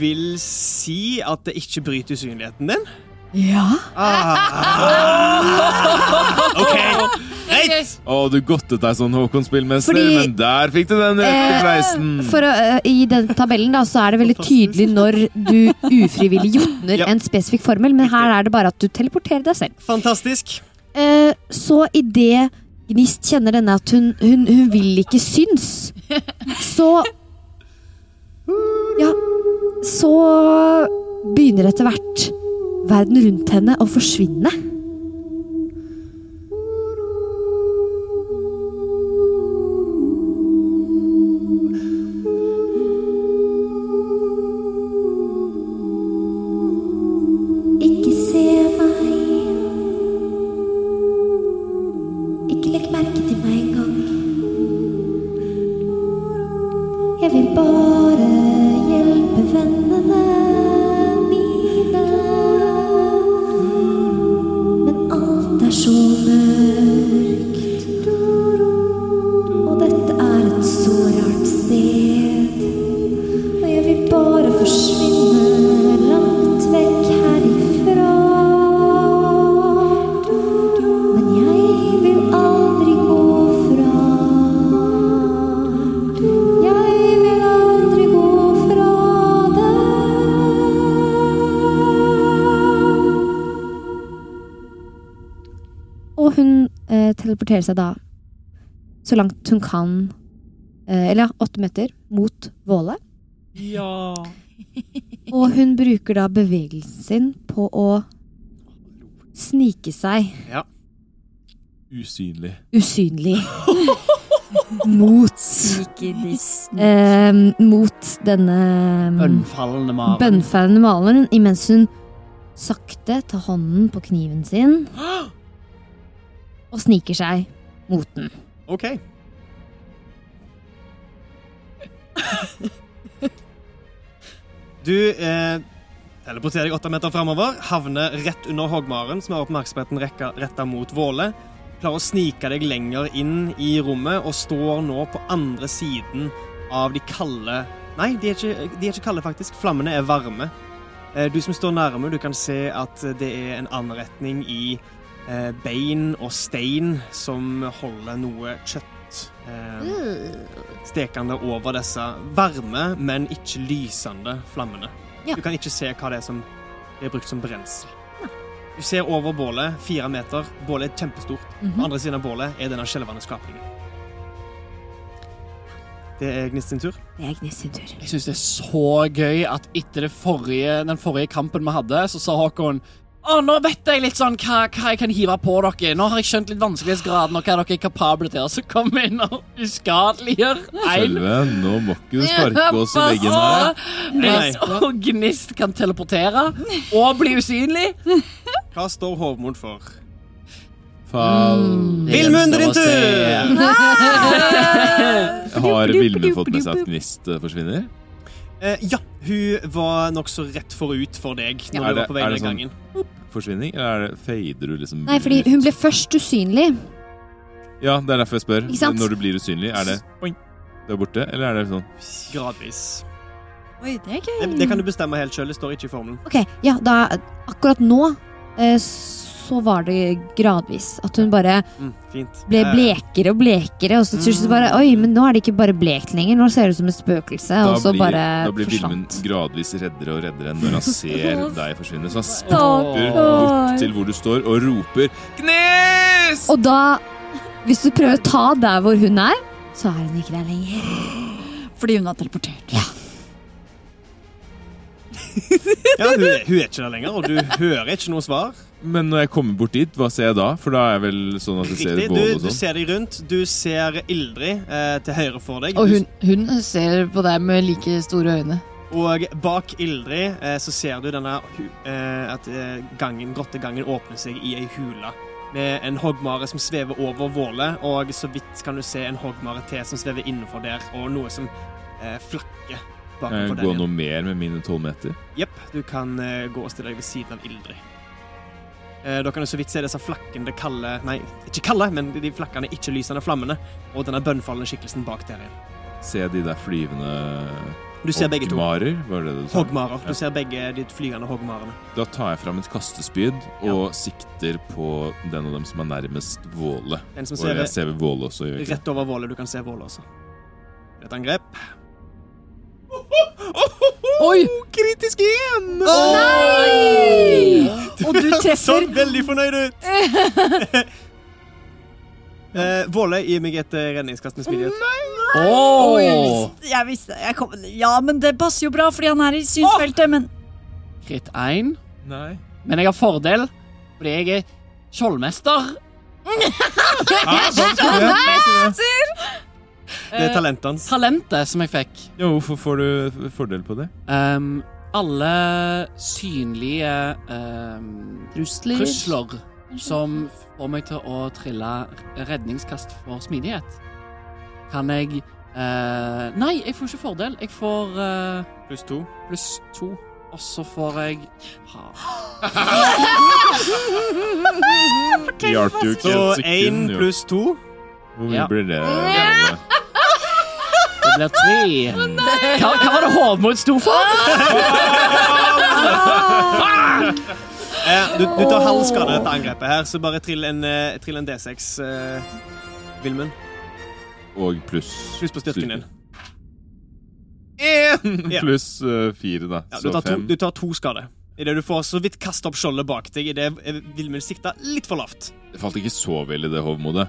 [SPEAKER 2] vil si at det ikke bryter usynligheten din? Ah.
[SPEAKER 5] Ja.
[SPEAKER 3] <laughs>
[SPEAKER 2] Ok, Greit!
[SPEAKER 4] Å, du godtet deg sånn, Håkon spillmester,
[SPEAKER 5] Fordi-
[SPEAKER 4] men der fikk du den rette
[SPEAKER 5] Eh,
[SPEAKER 4] fleisen.
[SPEAKER 5] For å, eh, I den tabellen da, så er det veldig
[SPEAKER 2] Fantastisk.
[SPEAKER 5] tydelig når du ufrivillig jotner
[SPEAKER 2] Ja.
[SPEAKER 5] en spesifikk formel, men her er det bare at du teleporterer deg selv.
[SPEAKER 2] Fantastisk.
[SPEAKER 5] Eh, så idet Gnist kjenner denne at hun, hun, hun vil ikke syns, så Ja, så begynner etter hvert verden rundt henne å forsvinne.
[SPEAKER 15] Ikke se meg. Ikke legg merke til meg engang. Jeg vil bare hjelpe vennene mine. Men alt er så mørkt. Og dette er et så rart sted. Og jeg vil bare forsvinne langt vekk herifra. Men jeg vil aldri gå fra. Jeg vil aldri gå fra deg.
[SPEAKER 5] Og hun eh, teleporterer seg da så langt hun kan eh, Eller ja, åtte meter mot Våle.
[SPEAKER 14] Ja.
[SPEAKER 5] Og hun bruker da bevegelsen sin på å snike seg
[SPEAKER 4] Ja. Usynlig.
[SPEAKER 5] usynlig mot eh, Mot denne
[SPEAKER 6] Bønnfallende Maren.
[SPEAKER 5] bønnfallende maleren imens hun sakte tar hånden på kniven sin og sniker seg mot den.
[SPEAKER 2] OK. Du eh, teleporterer deg åtte meter framover, havner rett under hoggmaren, som har oppmerksomheten rekka- retta mot Våle. Klarer å snike deg lenger inn i rommet og står nå på andre siden av de kalde Nei, de er ikke, de er ikke kalde, faktisk. Flammene er varme. Eh, Du som står nærme, du kan se at det er en anretning i eh, bein og stein som holder noe kjøtt eh, stekende over disse varme, men ikke lysende flammene.
[SPEAKER 5] Ja.
[SPEAKER 2] Du kan ikke se hva det er som er brukt som brensel. Du ser over bålet, fire meter. Bålet er kjempestort. På andre siden av bålet er denne skjelvende skapningen. Det er Gnist sin tur.
[SPEAKER 5] Det er Gnist sin tur.
[SPEAKER 6] Jeg syns det er så gøy at etter det forrige, den forrige kampen vi hadde, så sa Håkon Å, nå vet jeg litt sånn hva, hva jeg kan hive på dere. Nå har jeg skjønt litt vanskelighetsgraden og hva dere er kapable til. Og så kom vi inn og uskadeliggjør én.
[SPEAKER 4] Skjelve, nå må ikke du sparke oss i veggen her.
[SPEAKER 6] Gnist og Gnist kan teleportere og bli usynlig.
[SPEAKER 2] Hva står Hovmod for?
[SPEAKER 4] Faen.
[SPEAKER 13] Mm.
[SPEAKER 2] Vilmund, din tur!
[SPEAKER 3] Mm.
[SPEAKER 4] Har Vilmund fått med seg at Gnist eh, forsvinner?
[SPEAKER 2] Eh, ja, hun var nokså rett forut for deg når
[SPEAKER 4] Er
[SPEAKER 2] du
[SPEAKER 4] det-
[SPEAKER 2] var på vei
[SPEAKER 4] er
[SPEAKER 2] ned
[SPEAKER 4] det sånn-
[SPEAKER 2] gangen.
[SPEAKER 4] Forsvinning? Eller er det, fader du liksom
[SPEAKER 5] Nei, fordi hun ble først usynlig.
[SPEAKER 4] Ja, det er derfor jeg spør.
[SPEAKER 5] Ikke sant?
[SPEAKER 4] Når du blir usynlig, er det Du er borte, eller er det sånn
[SPEAKER 2] Gradvis.
[SPEAKER 3] Oi, det er
[SPEAKER 2] Det, det kan du bestemme helt sjøl. Det står ikke i formelen.
[SPEAKER 5] Ok, ja, da Akkurat nå eh, så var det gradvis at hun bare
[SPEAKER 2] Mm, fint.
[SPEAKER 5] ble
[SPEAKER 2] Eh,
[SPEAKER 5] blekere og blekere, og så til slutt bare Oi, men nå er det ikke bare blekt lenger, nå ser det ut som et spøkelse, og så bare
[SPEAKER 4] da blir Vilmund
[SPEAKER 5] forsvant.
[SPEAKER 4] gradvis reddere og reddere når han
[SPEAKER 5] <laughs>
[SPEAKER 4] ser deg forsvinne. Så han
[SPEAKER 5] Stakkar.
[SPEAKER 4] spurter bort til hvor du står, og roper Gnes!
[SPEAKER 5] Og da, hvis du prøver å ta der hvor hun er, så er hun ikke der lenger. <gasps>
[SPEAKER 3] Fordi hun har teleportert.
[SPEAKER 2] Ja, hun, er- hun er ikke der lenger, og du hører ikke noe
[SPEAKER 4] <laughs>
[SPEAKER 2] svar.
[SPEAKER 4] Men når jeg kommer bort dit, hva ser jeg da? For da er jeg vel sånn at jeg ser
[SPEAKER 2] Riktig.
[SPEAKER 4] et bål
[SPEAKER 2] Du,
[SPEAKER 4] og
[SPEAKER 2] du
[SPEAKER 4] sånn.
[SPEAKER 2] ser deg rundt. Du ser Ildrid eh, til høyre for deg.
[SPEAKER 11] Og
[SPEAKER 2] Du-
[SPEAKER 11] hun, hun ser på deg med like store øyne.
[SPEAKER 2] og bak Ildrid eh, så ser du denne hu- eh, at eh, gangen, grottegangen åpner seg i ei hule. Med en hoggmare som svever over vålet, og så vidt kan du se en hoggmare til som svever innenfor der, og noe som eh, flakker bakenfor
[SPEAKER 4] Kan jeg
[SPEAKER 2] der
[SPEAKER 4] gå
[SPEAKER 2] igjen.
[SPEAKER 4] noe mer med mine tolv meter?
[SPEAKER 2] Jepp, du kan eh, gå og stille deg ved siden av Ildrid. Eh, da kan du så vidt se disse flakkende kalde Nei, ikke kalde, men de flakkende ikke-lysende flammene. Og denne bønnfallende skikkelsen bak der igjen.
[SPEAKER 4] Ser jeg de der flyvende
[SPEAKER 2] Du ser begge to.
[SPEAKER 4] hoggmarer? Var det det du sa?
[SPEAKER 2] Hoggmarer. Du ser begge de flygende hoggmarene.
[SPEAKER 4] Da tar jeg fram et kastespyd og sikter på den av dem som er nærmest Våle.
[SPEAKER 2] Den som
[SPEAKER 4] Og
[SPEAKER 2] ser
[SPEAKER 4] jeg ser ved Våle også, gjør jeg ikke?
[SPEAKER 2] rett over Våle. Du kan se Våle også. Det er Et angrep.
[SPEAKER 6] Oi!
[SPEAKER 2] Kritisk igjen! <laughs>
[SPEAKER 3] Og du treffer.
[SPEAKER 2] Sånn veldig fornøyd
[SPEAKER 3] <laughs>
[SPEAKER 2] ut! eh, Våle, gi meg et eh, redningskast med smidighet.
[SPEAKER 3] Oi, jeg visste- Jeg visste jeg kom, Ja, men det passer jo bra, fordi han er i synsfeltet, men
[SPEAKER 6] Kritt 1.
[SPEAKER 4] Nei.
[SPEAKER 6] Men jeg har fordel, fordi jeg er skjoldmester.
[SPEAKER 2] Ah, Det er talentet
[SPEAKER 3] Eh,
[SPEAKER 2] hans.
[SPEAKER 6] Talentet som jeg fikk.
[SPEAKER 4] Ja, hvorfor får du fordel på det?
[SPEAKER 6] Ehm, alle synlige ehm,
[SPEAKER 11] Trusler.
[SPEAKER 6] trusler som får meg til å trille redningskast for smidighet, kan jeg eh, Nei, jeg får ikke fordel. Jeg får eh,
[SPEAKER 4] Pluss to.
[SPEAKER 6] pluss to, og så får jeg
[SPEAKER 4] Det hjalp jo ikke
[SPEAKER 2] Så
[SPEAKER 4] et
[SPEAKER 2] én
[SPEAKER 4] sekund. jo.
[SPEAKER 2] pluss to.
[SPEAKER 4] Hvor mye
[SPEAKER 6] Ja.
[SPEAKER 4] blir det? Janne?
[SPEAKER 6] Det blir tre. hva, hva var det Hovmod sto for?
[SPEAKER 2] Eh, du, du tar halv skade av dette angrepet her, så bare trill en, eh, trill en D6, eh, Vilmund.
[SPEAKER 4] Og pluss
[SPEAKER 2] Pluss på styrken din.
[SPEAKER 4] Én
[SPEAKER 2] Ja.
[SPEAKER 4] pluss eh, fire, da.
[SPEAKER 2] Ja, du,
[SPEAKER 4] så
[SPEAKER 2] tar to,
[SPEAKER 4] fem.
[SPEAKER 2] du tar to skade. Idet du får så vidt kasta opp skjoldet bak deg idet eh, Vilmund sikta litt for lavt.
[SPEAKER 4] Det falt ikke så vel i det hovmodet.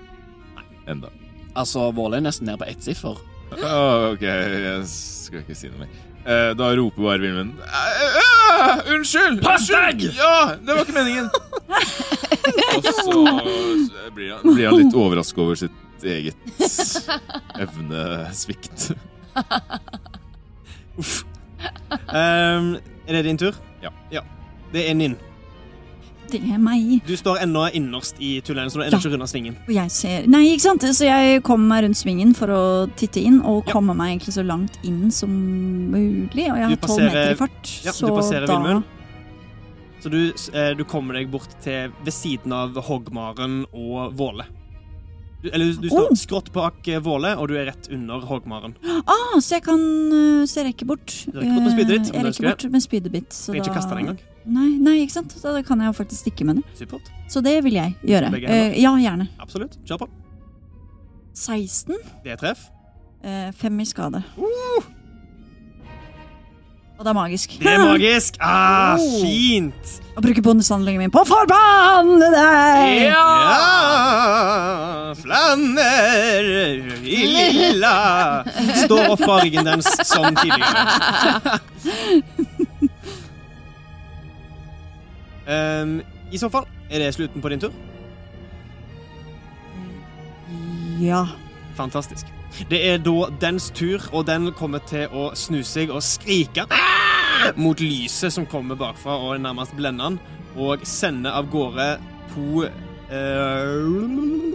[SPEAKER 4] Enda.
[SPEAKER 6] altså, Våle er nesten ned på ett siffer.
[SPEAKER 4] Å, OK, jeg skal ikke si noe mer. Eh, da roper bare Vilmund «Æ, æ, Unnskyld!
[SPEAKER 16] Pass deg!»
[SPEAKER 4] Unnskyld! Ja, det var ikke meningen! Og så blir han, blir han litt overrasket over sitt eget evnesvikt.
[SPEAKER 2] Ehm, er det din tur?
[SPEAKER 4] Ja.
[SPEAKER 2] Det er Ninn.
[SPEAKER 3] det er meg.
[SPEAKER 2] Du står ennå innerst i tunnelen, så du ender
[SPEAKER 3] Ja.
[SPEAKER 2] ikke runda svingen.
[SPEAKER 3] Og jeg ser Nei, ikke sant? Så jeg kom meg rundt svingen for å titte inn, og komme meg egentlig så langt inn som mulig. Og jeg
[SPEAKER 2] Du
[SPEAKER 3] har tolv
[SPEAKER 2] passerer-
[SPEAKER 3] meter i fart,
[SPEAKER 2] Ja,
[SPEAKER 3] så
[SPEAKER 2] du passerer
[SPEAKER 3] da
[SPEAKER 2] Vilmund. Så du, eh, du kommer deg bort til ved siden av hoggmaren og Våle. Du, eller du, du står
[SPEAKER 3] Oh.
[SPEAKER 2] skrått bak eh, Våle, og du er rett under hoggmaren.
[SPEAKER 3] Ah, så jeg kan øh, Så jeg rekker bort.
[SPEAKER 2] Du rekker bort med spydet ditt, om
[SPEAKER 3] Eh, Jeg
[SPEAKER 2] du ønsker
[SPEAKER 3] rekker bort med spydet mitt. Så
[SPEAKER 2] Trenger ikke
[SPEAKER 3] da-
[SPEAKER 2] kaste den engang.
[SPEAKER 3] Nei, nei, ikke sant. Da kan jeg jo faktisk stikke med det.
[SPEAKER 2] Supert.
[SPEAKER 3] Så det vil jeg gjøre.
[SPEAKER 2] Begge hender?
[SPEAKER 3] Eh, ja, gjerne.
[SPEAKER 2] Absolutt. Kjør på.
[SPEAKER 3] 16.
[SPEAKER 2] Det er treff.
[SPEAKER 3] eh, Fem i skade. Og det er magisk.
[SPEAKER 2] Uh!
[SPEAKER 3] <gasps>
[SPEAKER 2] Det er magisk! Ah,
[SPEAKER 3] Oh.
[SPEAKER 2] fint!
[SPEAKER 3] <laughs> Å bruke bonushandlingen min på å forbanne deg!
[SPEAKER 2] Ja! Flander i lilla Står opp fra ryggen dens som tidligere. Ehm, I så fall er det slutten på din tur.
[SPEAKER 3] Ja.
[SPEAKER 2] Fantastisk. Det er da dens tur, og den kommer til å snu seg og skrike «Ah!» mot lyset som kommer bakfra og nærmest blender han, og sender av gårde to eh,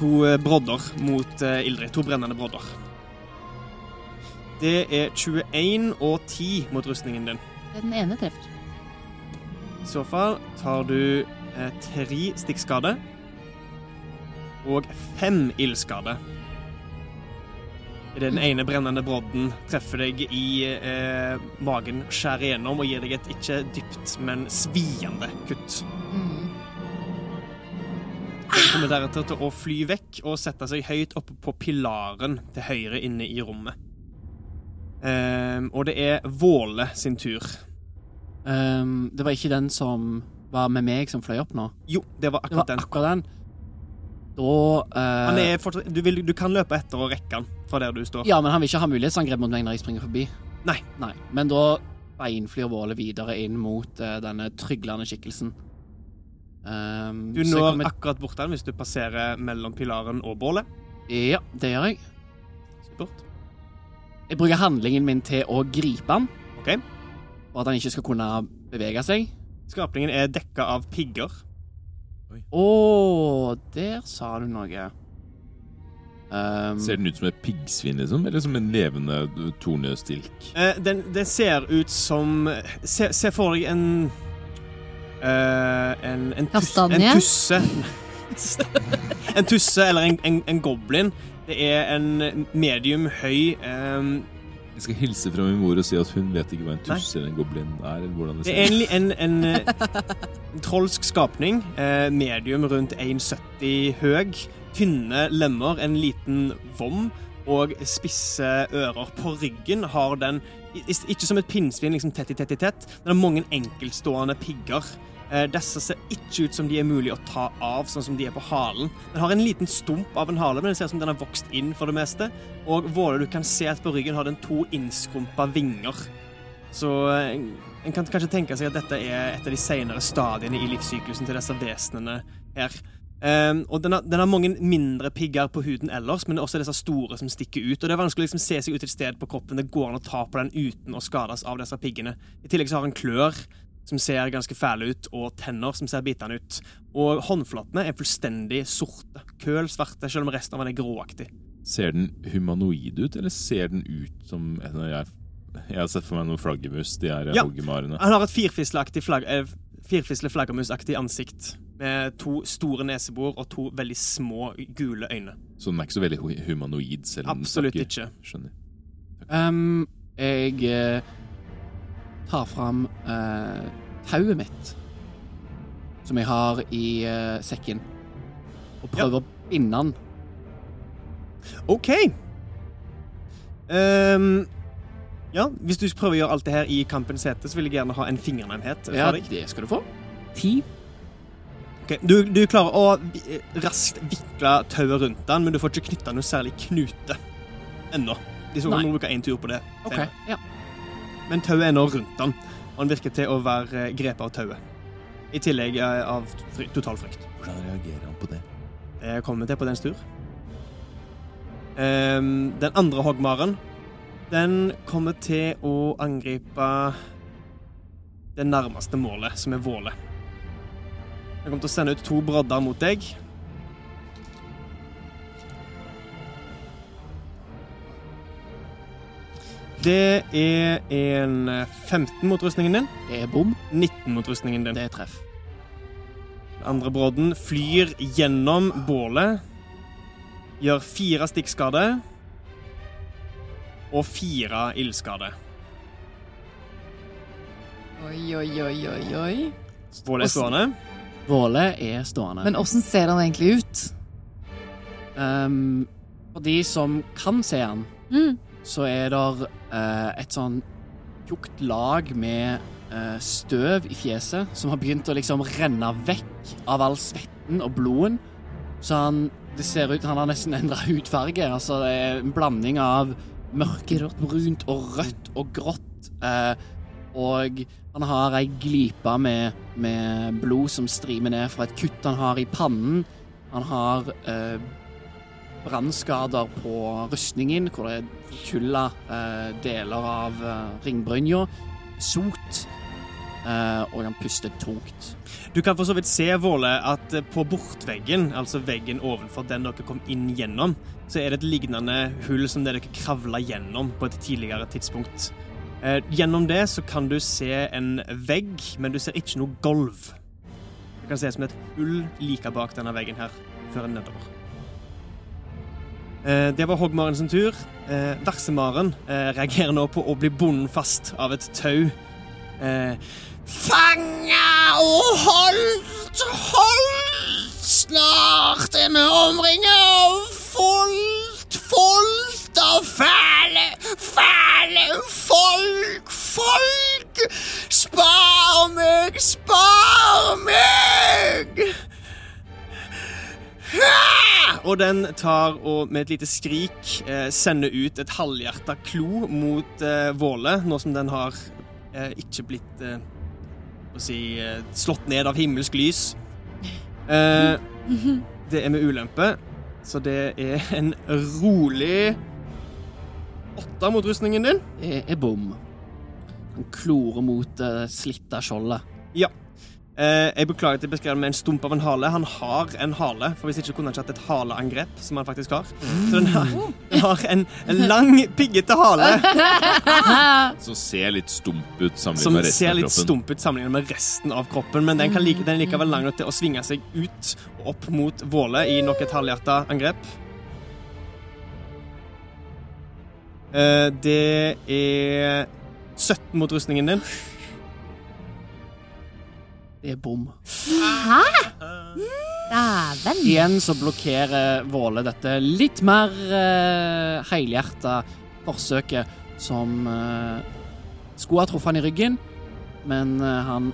[SPEAKER 2] To eh, brodder mot eh, Ildrid. To brennende brodder. Det er 21 og 10 mot rustningen din.
[SPEAKER 11] Den ene treffer.
[SPEAKER 2] I så fall tar du eh, tre stikkskade og fem ildskade. Den
[SPEAKER 6] Mm.
[SPEAKER 2] ene brennende brodden treffer deg i eh, magen, skjærer igjennom og gir deg et ikke dypt, men sviende kutt.
[SPEAKER 11] Mm.
[SPEAKER 2] Den kommer
[SPEAKER 6] Ah!
[SPEAKER 2] deretter til å fly vekk og sette seg høyt oppe på pilaren til høyre inne i rommet. Ehm, og det er Våle sin tur.
[SPEAKER 6] Ehm, det var ikke den som var med meg, som fløy opp nå.
[SPEAKER 2] Jo, det var
[SPEAKER 6] Det var
[SPEAKER 2] akkurat den.
[SPEAKER 6] akkurat den. Da eh,
[SPEAKER 2] Han er fortsatt, du, vil, du kan løpe etter og rekke han fra der du står.
[SPEAKER 6] Ja, men han vil ikke ha mulighetsangrep mot meg når jeg springer forbi.
[SPEAKER 2] Nei.
[SPEAKER 6] Nei. Men da beinflyr Våle videre inn mot eh, denne tryglende skikkelsen. Ehm,
[SPEAKER 2] Du
[SPEAKER 6] så jeg
[SPEAKER 2] når
[SPEAKER 6] kommer-
[SPEAKER 2] akkurat bort den hvis du passerer mellom pilaren og bålet.
[SPEAKER 6] Ja, det gjør jeg.
[SPEAKER 2] Supert.
[SPEAKER 6] Jeg bruker handlingen min til å gripe han.
[SPEAKER 2] Ok.
[SPEAKER 6] Og at han ikke skal kunne bevege seg.
[SPEAKER 2] Skapningen er dekka av pigger.
[SPEAKER 6] Å, der sa du noe. Ehm,
[SPEAKER 4] Ser den ut som et piggsvin, liksom? Eller som en levende eh, tornestilk?
[SPEAKER 2] Eh, den, den ser ut som Se, se for deg en eh, en, en, tus,
[SPEAKER 11] Kastanje?
[SPEAKER 2] en tusse. en tusse eller en, en, en goblin. Det er en medium høy eh,
[SPEAKER 4] Jeg skal hilse fra min mor og si at hun vet ikke hva en tuss eller en goblin er. Eller hvordan det
[SPEAKER 2] Det
[SPEAKER 4] ser
[SPEAKER 2] er
[SPEAKER 4] ut.
[SPEAKER 2] en, en, en, eh, en trolsk skapning. Eh, medium rundt 1,70 høg. Tynne lemmer, en liten vom og spisse ører. På ryggen har den i- i- Ikke som et pinnsvin liksom tett i tett i tett, men det er mange enkeltstående pigger Eh, Disse ser ikke ut som de er mulig å ta av, sånn som de er på halen. Den har en liten stump av en hale, men det ser ut som den har vokst inn for det meste. Og Våle, du kan se at på ryggen har den to innskrumpa vinger. Så eh, en kan kanskje tenke seg at dette er et av de senere stadiene i livssyklusen til disse vesenene her. Ehm, og den har, den har mange mindre pigger på huden ellers, men det er også disse store som stikker ut. Og det er vanskelig å liksom se seg ut et sted på kroppen det går an å ta på den uten å skades av disse piggene. I tillegg så har han klør som ser ganske fæle ut, og tenner som ser bitende ut. Og håndflatene er fullstendig sorte. Køl svarte, selv om resten av den er gråaktig.
[SPEAKER 4] Ser den humanoid ut, eller ser den ut som Jeg, jeg har sett for meg noen flaggermus. De er eh,
[SPEAKER 2] Ja,
[SPEAKER 4] hoggemarene.
[SPEAKER 2] Han har et firfisleaktig flagg... eh, Firfisle flaggermusaktig ansikt med to store nesebor og to veldig små gule øyne.
[SPEAKER 4] Så den er ikke så veldig hu- humanoid, selv om
[SPEAKER 2] Absolutt
[SPEAKER 4] den
[SPEAKER 2] ikke.
[SPEAKER 4] Skjønner.
[SPEAKER 6] Ehm, jeg eh, tar fram eh, tauet mitt, som jeg har i eh, sekken, og prøver å binde den.
[SPEAKER 2] OK. Ehm, ja, hvis du prøver å gjøre alt det her i kampens hete, så vil jeg gjerne ha en fingernemhet fra
[SPEAKER 6] Ja,
[SPEAKER 2] deg.
[SPEAKER 6] det skal du få. Ti.
[SPEAKER 2] Ok, Du, du klarer å vi- eh, raskt vikle tauet rundt den, men du får ikke knytta noe særlig knute ennå. De så
[SPEAKER 6] Nei.
[SPEAKER 2] må bruke én tur på det.
[SPEAKER 6] Ok,
[SPEAKER 2] senere.
[SPEAKER 6] ja.
[SPEAKER 2] Men tauet er nå rundt den, og han virker til å være eh, grepet av tauet. I tillegg eh, av fry total frykt.
[SPEAKER 4] Hvordan reagerer han på det?
[SPEAKER 2] Det kommer vi eh, til på dens tur. Ehm, den andre hoggmaren, den kommer til å angripe det nærmeste målet, som er Våle. Den kommer til å sende ut to brodder mot deg. Det er en 15 mot rustningen din.
[SPEAKER 6] Det er bom.
[SPEAKER 2] 19 mot rustningen din.
[SPEAKER 6] Det er treff.
[SPEAKER 2] Den andre brodden flyr gjennom bålet, gjør fire stikkskade og fire ildskade.
[SPEAKER 11] Oi, oi, oi, oi, oi.
[SPEAKER 2] Bålet er stående.
[SPEAKER 6] Våle er stående.
[SPEAKER 11] Men åssen ser han egentlig ut?
[SPEAKER 6] Ehm, for de som kan se han,
[SPEAKER 11] Mm.
[SPEAKER 6] så er det et sånn tjukt lag med eh, støv i fjeset som har begynt å liksom renne vekk av all svetten og blodet. Så han, det ser ut, han har nesten endra <laughs> hudfarge. Altså det er en blanding av mørkerødt, brunt og rødt og grått. eh, og han har ei glipe med, med blod som strimer ned fra et kutt han har i pannen. Han har eh, brannskader på rustningen, hvor det er kulla eh, deler av eh, ringbrynja, sot, eh, og han puster tungt.
[SPEAKER 2] Du kan for så vidt se, Våle, at eh, på bortveggen, altså veggen ovenfor den dere kom inn gjennom, så er det et lignende hull som det dere kravla gjennom på et tidligere tidspunkt. Eh, gjennom det så kan du se en vegg, men du ser ikke noe gulv. Det kan se ut som et hull like bak denne veggen her, før en nedover. Eh, det var hoggmaren sin tur. Eh, Versemaren eh, reagerer nå på å bli bundet fast av et tau. Eh,
[SPEAKER 12] Fanga og holdt, holdt. Snart er vi omringa av folk, folk av fæle, fæle folk, folk. Spar meg, spar meg!
[SPEAKER 2] Og den tar og med et lite skrik eh, sender ut et halvhjerta klo mot eh, Våle, nå som den har eh, ikke blitt eh, å si, eh, slått ned av himmelsk lys. Eh, det er med ulempe, så det er en rolig åtte mot rustningen din.
[SPEAKER 6] Det er bom. Han klorer mot det slitta skjoldet.
[SPEAKER 2] Ja. Eh, jeg beklager at jeg beskrev det med en stump av en hale. Han har en hale, for hvis ikke kunne han ikke hatt et haleangrep, som han faktisk har. Så den har, den har en, en lang, piggete hale
[SPEAKER 4] Som ser litt stump ut
[SPEAKER 2] som ser
[SPEAKER 4] sammenlignet med resten av
[SPEAKER 2] litt
[SPEAKER 4] kroppen.
[SPEAKER 2] stump ut sammenlignet med resten av kroppen, men den, kan like, den er likevel lang nok til å svinge seg ut og opp mot Våle i nok et halvhjerta angrep. Eh, Det er 17 mot rustningen din.
[SPEAKER 6] Det er bom.
[SPEAKER 5] Hæ? Dæven.
[SPEAKER 6] Igjen så blokkerer Våle dette litt mer uh, helhjerta forsøket som eh, skulle ha truffet han i ryggen, men eh, han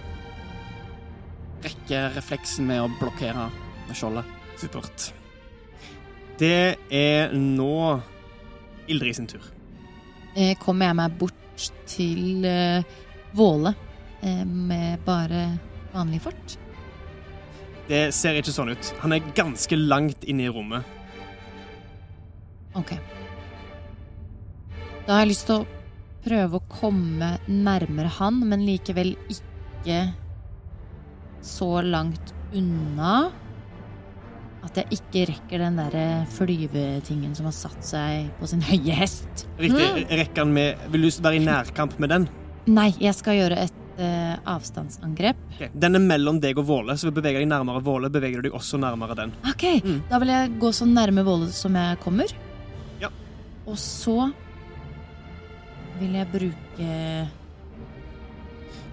[SPEAKER 6] rekker refleksen med å blokkere med skjoldet.
[SPEAKER 2] Supert. Det er nå Ildrid sin tur.
[SPEAKER 11] Eh, kommer jeg meg bort til eh, Våle eh, med bare vanlig fort?
[SPEAKER 2] Det ser ikke sånn ut. Han er ganske langt inne i rommet.
[SPEAKER 11] Ok. Da har jeg lyst til å prøve å komme nærmere han, men likevel ikke så langt unna at jeg ikke rekker den derre flyvetingen som har satt seg på sin høye hest.
[SPEAKER 2] Riktig. Rekker han med Vil du være i nærkamp med den?
[SPEAKER 11] Nei, jeg skal gjøre et eh, avstandsangrep.
[SPEAKER 2] Ok, Den er mellom deg og Våle, så beveger deg nærmere Våle, beveger du deg også nærmere den.
[SPEAKER 11] Ok, da vil jeg gå så nærme Våle som jeg kommer.
[SPEAKER 2] Ja.
[SPEAKER 11] Og så vil jeg bruke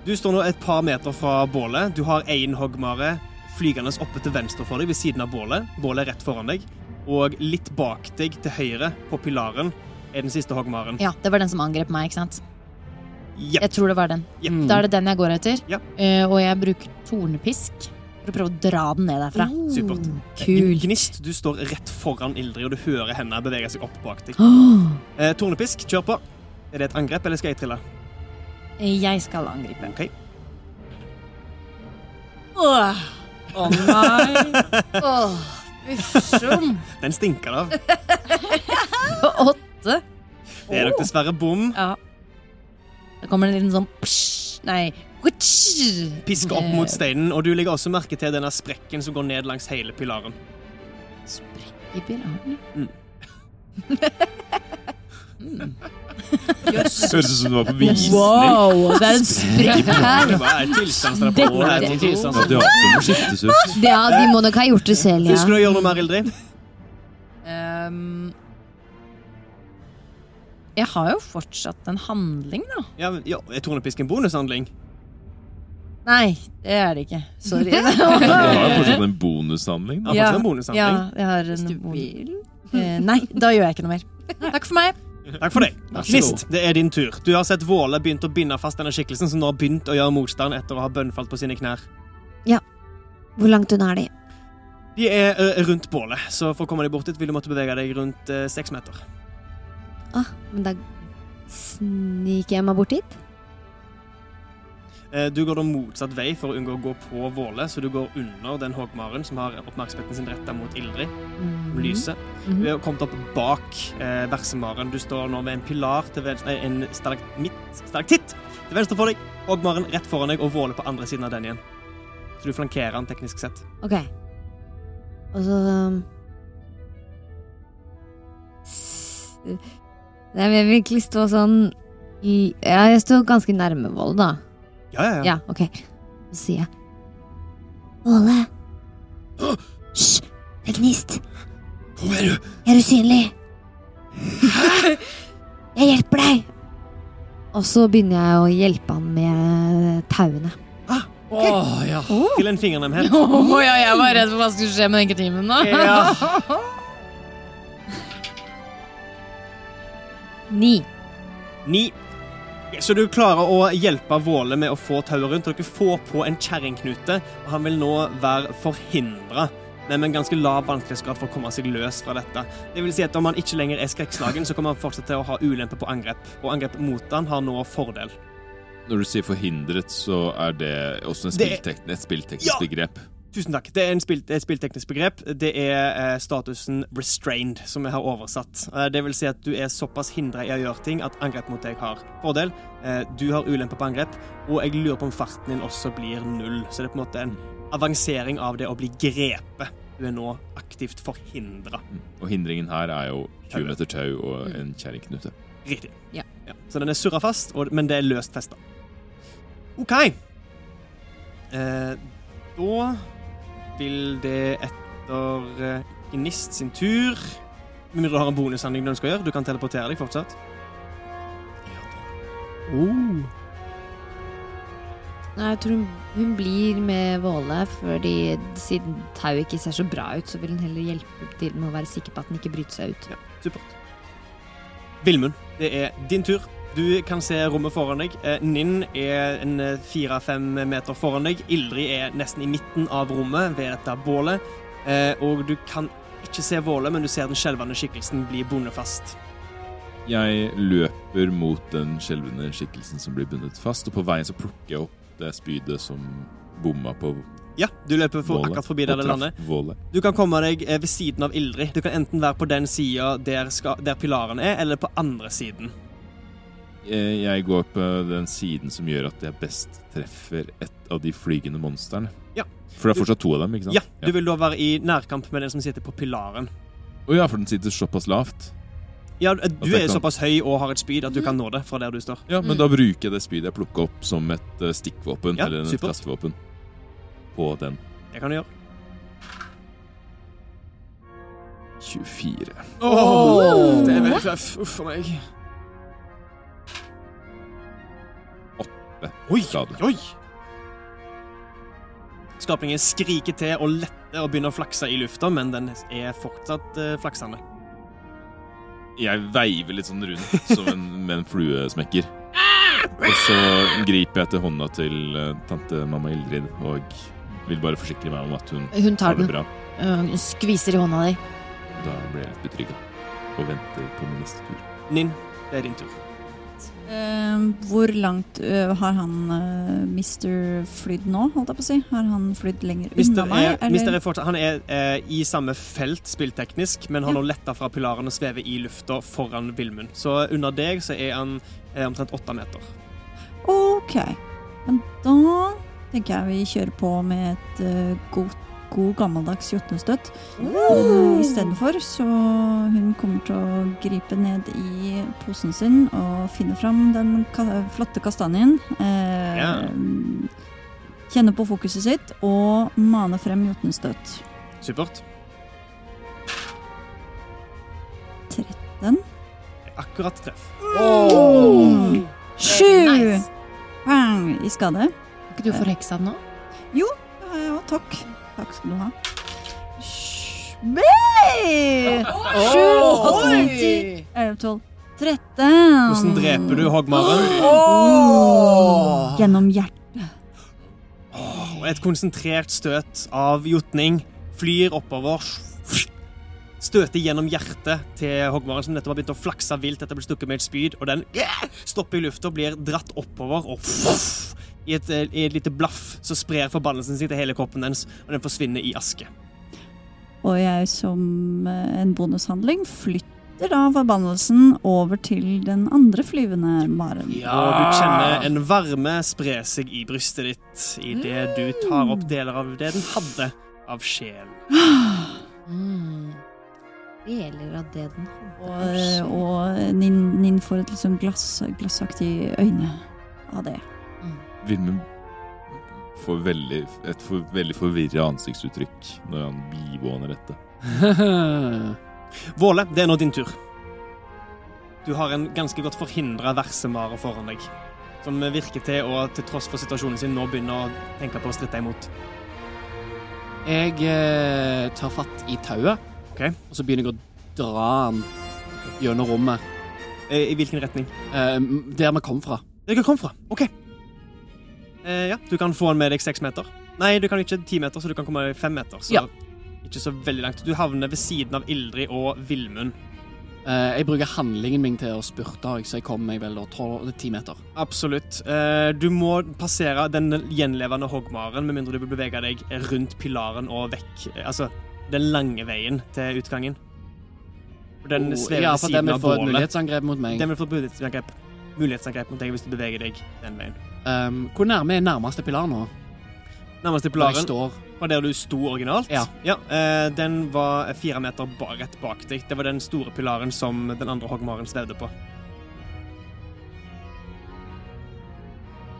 [SPEAKER 2] Du står nå et par meter fra bålet. Du har én hoggmare flygende oppe til venstre for deg ved siden av bålet. Bålet er rett foran deg. Og litt bak deg til høyre på pilaren er den siste hoggmaren.
[SPEAKER 11] Ja, det var den som angrep meg, ikke sant?
[SPEAKER 2] Jep.
[SPEAKER 11] Jeg tror det var den.
[SPEAKER 2] Jep.
[SPEAKER 11] Da er det den jeg går etter.
[SPEAKER 2] Jep.
[SPEAKER 11] Eh, og jeg bruker tornepisk for å prøve å dra den ned derfra.
[SPEAKER 3] Mm.
[SPEAKER 2] Supert.
[SPEAKER 11] Kult.
[SPEAKER 2] Gnist, du står rett foran Ildrid, og du hører henne bevege seg opp bak deg.
[SPEAKER 11] Åh.
[SPEAKER 2] Eh, tornepisk, kjør på. Er det et angrep, eller skal jeg trille?
[SPEAKER 11] Eh, Jeg skal angripe.
[SPEAKER 2] Ok.
[SPEAKER 11] Åh,
[SPEAKER 14] Å nei.
[SPEAKER 11] åh, Uffsjom.
[SPEAKER 2] Den stinker av.
[SPEAKER 11] Åtte.
[SPEAKER 2] Det
[SPEAKER 11] Oh.
[SPEAKER 2] er nok dessverre bom.
[SPEAKER 11] Ja. Da kommer det en liten sånn psj, Nei. hutsch.
[SPEAKER 2] Pisker opp mot
[SPEAKER 11] Eh,
[SPEAKER 2] steinen, og du legger også merke til denne sprekken som går ned langs hele pilaren.
[SPEAKER 11] I pilaren.
[SPEAKER 2] Mm.
[SPEAKER 11] Mm.
[SPEAKER 4] Høres ut som du var på visning.
[SPEAKER 11] Wow, det er en sprekk
[SPEAKER 2] <laughs>
[SPEAKER 11] her.
[SPEAKER 2] Det var en tilstandsrapport. Det
[SPEAKER 11] Dette-
[SPEAKER 2] er en tilstandsrapport.
[SPEAKER 4] Det var ikke noe å skiftes ut.
[SPEAKER 5] Det, ja, de må nok ha gjort det selv, ja.
[SPEAKER 2] Skulle du gjøre noe mer, Ildrid?
[SPEAKER 11] Ehm, jeg har jo fortsatt en handling, da.
[SPEAKER 2] Ja, ja, jeg tror det pisker en bonushandling.
[SPEAKER 11] Nei, det er det ikke. Sorry.
[SPEAKER 4] Du
[SPEAKER 11] <laughs>
[SPEAKER 4] har jo fortsatt en bonushandling. da.
[SPEAKER 2] Ja, fortsatt en bonushandling.
[SPEAKER 11] Ja, jeg har en bonus. Eh, nei, da gjør jeg ikke noe mer. <laughs> Takk for meg.
[SPEAKER 2] Takk for det.
[SPEAKER 6] Vær så
[SPEAKER 2] Gnist, det er din tur. Du har sett Våle begynt å binde fast denne skikkelsen, som nå har begynt å gjøre motstand etter å ha bønnfalt på sine knær.
[SPEAKER 5] Hvor langt unna er de?
[SPEAKER 2] De er ø, rundt bålet, så for å komme deg bort dit vil du måtte bevege deg rundt ø, seks meter.
[SPEAKER 5] Ah, men da sniker jeg meg bort dit.
[SPEAKER 2] Eh, Du går da motsatt vei for å unngå å gå på Våle, så du går under den hoggmaren som har oppmerksomheten sin retta mot Ildrid,
[SPEAKER 5] Mhm.
[SPEAKER 2] lyset.
[SPEAKER 5] Mhm.
[SPEAKER 2] Du er kommet opp bak eh, versemaren. Du står nå ved en pilar til venstre, nei, en stalagmitt, stalaktitt til venstre for deg. Hoggmaren rett foran deg og Våle på andre siden av den igjen. Så du flankerer han teknisk sett.
[SPEAKER 5] Ok. Og så um, s- Nei, men Jeg vil egentlig stå sånn i- Ja, jeg står ganske nærme Våle, da.
[SPEAKER 2] Ja, ja, ja.
[SPEAKER 5] Ja, ok. Så sier jeg Våle. Hysj! Det er gnist.
[SPEAKER 13] Hvor er du?
[SPEAKER 5] Jeg er usynlig. Jeg hjelper deg. Og så begynner jeg å hjelpe han med tauene.
[SPEAKER 6] Å, ja.
[SPEAKER 2] Til en fingernemhet.
[SPEAKER 11] Å Oh, ja, jeg var redd for <laughs> hva som skulle skje med den kniven nå. <laughs>
[SPEAKER 5] Ni.
[SPEAKER 2] Ni. Ok, Så du klarer å hjelpe Våle med å få tauet rundt. og Dere får på en kjerringknute, og han vil nå være forhindra. Men med en ganske lav vanskelighetsgrad for å komme seg løs fra dette. Det vil si at Om han ikke lenger er skrekkslagen, så kommer han fortsatt til å ha ulempe på angrep. Og angrep mot han har nå fordel.
[SPEAKER 4] Når du sier forhindret, så er det også en
[SPEAKER 2] Det-
[SPEAKER 4] spilltekn et spillteknisk
[SPEAKER 2] Ja.
[SPEAKER 4] begrep.
[SPEAKER 2] Tusen takk. Det er en spill, et spillteknisk begrep. Det er eh, statusen restrained, som jeg har oversatt. Eh, det vil si at du er såpass hindra i å gjøre ting at angrep mot deg har fordel. Eh, du har ulempe på angrep, og jeg lurer på om farten din også blir null. Så det er på en måte en avansering av det å bli grepet. Du er nå aktivt forhindra.
[SPEAKER 4] Mm. Og hindringen her er jo
[SPEAKER 2] Tauet.
[SPEAKER 4] 20 meter tau
[SPEAKER 2] Mm.
[SPEAKER 4] og en kjerringknute.
[SPEAKER 2] Riktig.
[SPEAKER 11] Ja.
[SPEAKER 2] Så den er surra fast, og, men det er løst festa. OK. Eh, da vil det etter eh, Gnist sin tur Med mindre du har en bonushandling du ønsker å gjøre. Du kan teleportere deg fortsatt. Oh.
[SPEAKER 5] Nei, jeg tror hun, hun blir med Våle, fordi siden tauet ikke ser så bra ut, så vil hun heller hjelpe til med å være sikker på at den ikke bryter seg ut.
[SPEAKER 2] Supert. Vilmund, det er din tur. Du kan se rommet foran deg. Eh, Ninn er en eh, fire-fem meter foran deg. Ildrid er nesten i midten av rommet ved dette bålet. Eh, Og du kan ikke se bålet, men du ser den skjelvende skikkelsen bli bundet fast.
[SPEAKER 4] Jeg løper mot den skjelvende skikkelsen som blir bundet fast, og på veien så plukker jeg opp det spydet som bomma på
[SPEAKER 2] Ja, du løper for,
[SPEAKER 4] Vålet.
[SPEAKER 2] akkurat forbi der
[SPEAKER 4] Og
[SPEAKER 2] det
[SPEAKER 4] traff
[SPEAKER 2] lander.
[SPEAKER 4] vålet.
[SPEAKER 2] Du kan komme deg eh, ved siden av Ildrid. Du kan enten være på den sida der, ska- der pilaren er, eller på andre siden.
[SPEAKER 4] Eh, Jeg går på den siden som gjør at jeg best treffer et av de flygende monstrene.
[SPEAKER 2] Ja.
[SPEAKER 4] For det
[SPEAKER 2] Du-
[SPEAKER 4] er fortsatt to av dem, ikke sant?
[SPEAKER 2] Ja, du vil da være i nærkamp med den som sitter på pilaren.
[SPEAKER 4] Å ja, for den sitter såpass lavt.
[SPEAKER 2] Ja, du
[SPEAKER 4] jeg
[SPEAKER 2] er
[SPEAKER 4] kan-
[SPEAKER 2] såpass høy og har et spyd at du kan nå det fra der du står.
[SPEAKER 4] Ja, men da bruker jeg det spydet jeg plukka opp, som et eh, stikkvåpen,
[SPEAKER 2] Ja,
[SPEAKER 4] eller et
[SPEAKER 2] supert.
[SPEAKER 4] kastevåpen, på den.
[SPEAKER 2] Det kan du gjøre.
[SPEAKER 4] 24.
[SPEAKER 14] Åh, det er veldig tøff. Uff for meg.
[SPEAKER 4] Oi, skade.
[SPEAKER 2] Oi! Skapningen skriker til og letter og begynner å flakse i lufta, men den er fortsatt eh, flaksende.
[SPEAKER 4] Jeg veiver litt sånn rundt som en, med en fluesmekker. Og så griper jeg til hånda til eh, tante mamma Ildrid og vil bare forsikre meg om at hun,
[SPEAKER 11] Hun tar
[SPEAKER 4] har det
[SPEAKER 11] den.
[SPEAKER 4] bra.
[SPEAKER 11] Øh, Hun skviser i hånda di.
[SPEAKER 4] Da blir jeg litt betrygga og venter på min neste tur.
[SPEAKER 2] Ninn, det er din tur.
[SPEAKER 3] Eh, hvor langt eh, har han eh, Mr. flydd nå, holdt jeg på å si? Har han flydd lenger
[SPEAKER 2] Mister
[SPEAKER 3] unna meg?
[SPEAKER 2] er, Mister er fortsatt Han er eh, i samme felt spillteknisk, men han har letta fra pilaren og svever i lufta foran Vilmund. Så under deg så er han eh, omtrent åtte meter.
[SPEAKER 3] Ok. Men da tenker jeg vi kjører på med et eh, godt God gammeldags jotnestøtt. Uh, Istedenfor, så hun kommer til å gripe ned i posen sin og finne fram den ka flotte kastanjen. eh,
[SPEAKER 2] Ja.
[SPEAKER 3] Kjenne på fokuset sitt og mane frem jotnestøtt.
[SPEAKER 2] Supert.
[SPEAKER 3] Den
[SPEAKER 2] Akkurat treff.
[SPEAKER 3] Åh! Sju
[SPEAKER 11] Eh, Nice.
[SPEAKER 3] bang i skade.
[SPEAKER 11] Kan ikke du forheksa den nå?
[SPEAKER 3] Jo, det har jeg jo. Takk. Takk skal du ha. Smell! Sju, åtte, ti, elleve, tolv, tretten.
[SPEAKER 2] Hvordan dreper du hoggmaren?
[SPEAKER 3] Åh! Gjennom hjertet.
[SPEAKER 2] Og Et konsentrert støt av jotning flyr oppover. Støter gjennom hjertet til hoggmaren, som nettopp har begynt å flakse vilt etter å bli stukket med et spyd, og den stopper i lufta, blir dratt oppover, og i et, eh, i et lite blaff så sprer forbannelsen seg til hele kroppen dens, og den forsvinner i aske.
[SPEAKER 3] Og jeg som eh, en bonushandling flytter da forbannelsen over til den andre flyvende maren.
[SPEAKER 2] Og
[SPEAKER 6] Ah.
[SPEAKER 2] du kjenner en varme spre seg i brystet ditt idet du tar opp deler av det den hadde av sjel.
[SPEAKER 11] Mm,
[SPEAKER 5] Deler av det den
[SPEAKER 3] Og,
[SPEAKER 5] hadde.
[SPEAKER 3] Eh, og Ninn Nin får et litt sånn glass, glassaktig øyne av det.
[SPEAKER 11] mm.
[SPEAKER 4] Vilmund får veldig, et for, veldig forvirra ansiktsuttrykk når han bivåner dette.
[SPEAKER 2] Våle, det er nå din tur. Du har en ganske godt forhindra versemare foran deg, som virker til å, til tross for situasjonen sin, nå begynner å tenke på å stritte imot.
[SPEAKER 6] <laughs> Jeg eh, tar fatt i tauet, og så begynner jeg å dra den gjennom rommet.
[SPEAKER 2] Eh,
[SPEAKER 6] eh,
[SPEAKER 2] I hvilken retning?
[SPEAKER 6] der vi kom fra.
[SPEAKER 2] Dere kom fra? OK. Eh, ja, du kan få den med deg seks meter. Nei, du kan ikke ti meter, så du kan komme deg fem meter. Så
[SPEAKER 6] Ja.
[SPEAKER 2] ikke så veldig langt. Du havner ved siden av Ildrid og Villmund.
[SPEAKER 6] Eh, jeg bruker handlingen min til å spurte, og så jeg kommer meg vel da tolv- ti meter.
[SPEAKER 2] Absolutt. Eh, du må passere den gjenlevende hoggmaren, med mindre du vil bevege deg rundt pilaren og vekk. Eh, Altså den lange veien til utgangen. For Den
[SPEAKER 6] Oh,
[SPEAKER 2] svever
[SPEAKER 6] ja,
[SPEAKER 2] ved
[SPEAKER 6] for
[SPEAKER 2] siden
[SPEAKER 6] den
[SPEAKER 2] av
[SPEAKER 6] vil få et
[SPEAKER 2] bålet.
[SPEAKER 6] mulighetsangrep mot meg.
[SPEAKER 2] Den vil få et mulighetsangrep, mulighetsangrep mot deg hvis du beveger deg den veien.
[SPEAKER 6] Um, hvor nærme er nærmeste pilar nå?
[SPEAKER 2] Nærmeste
[SPEAKER 6] Der
[SPEAKER 2] pilaren
[SPEAKER 6] jeg står.
[SPEAKER 2] var der du sto originalt.
[SPEAKER 6] Ja.
[SPEAKER 2] eh, den var fire meter ba rett bak deg. Det var den store pilaren som den andre hoggmaren svevde på.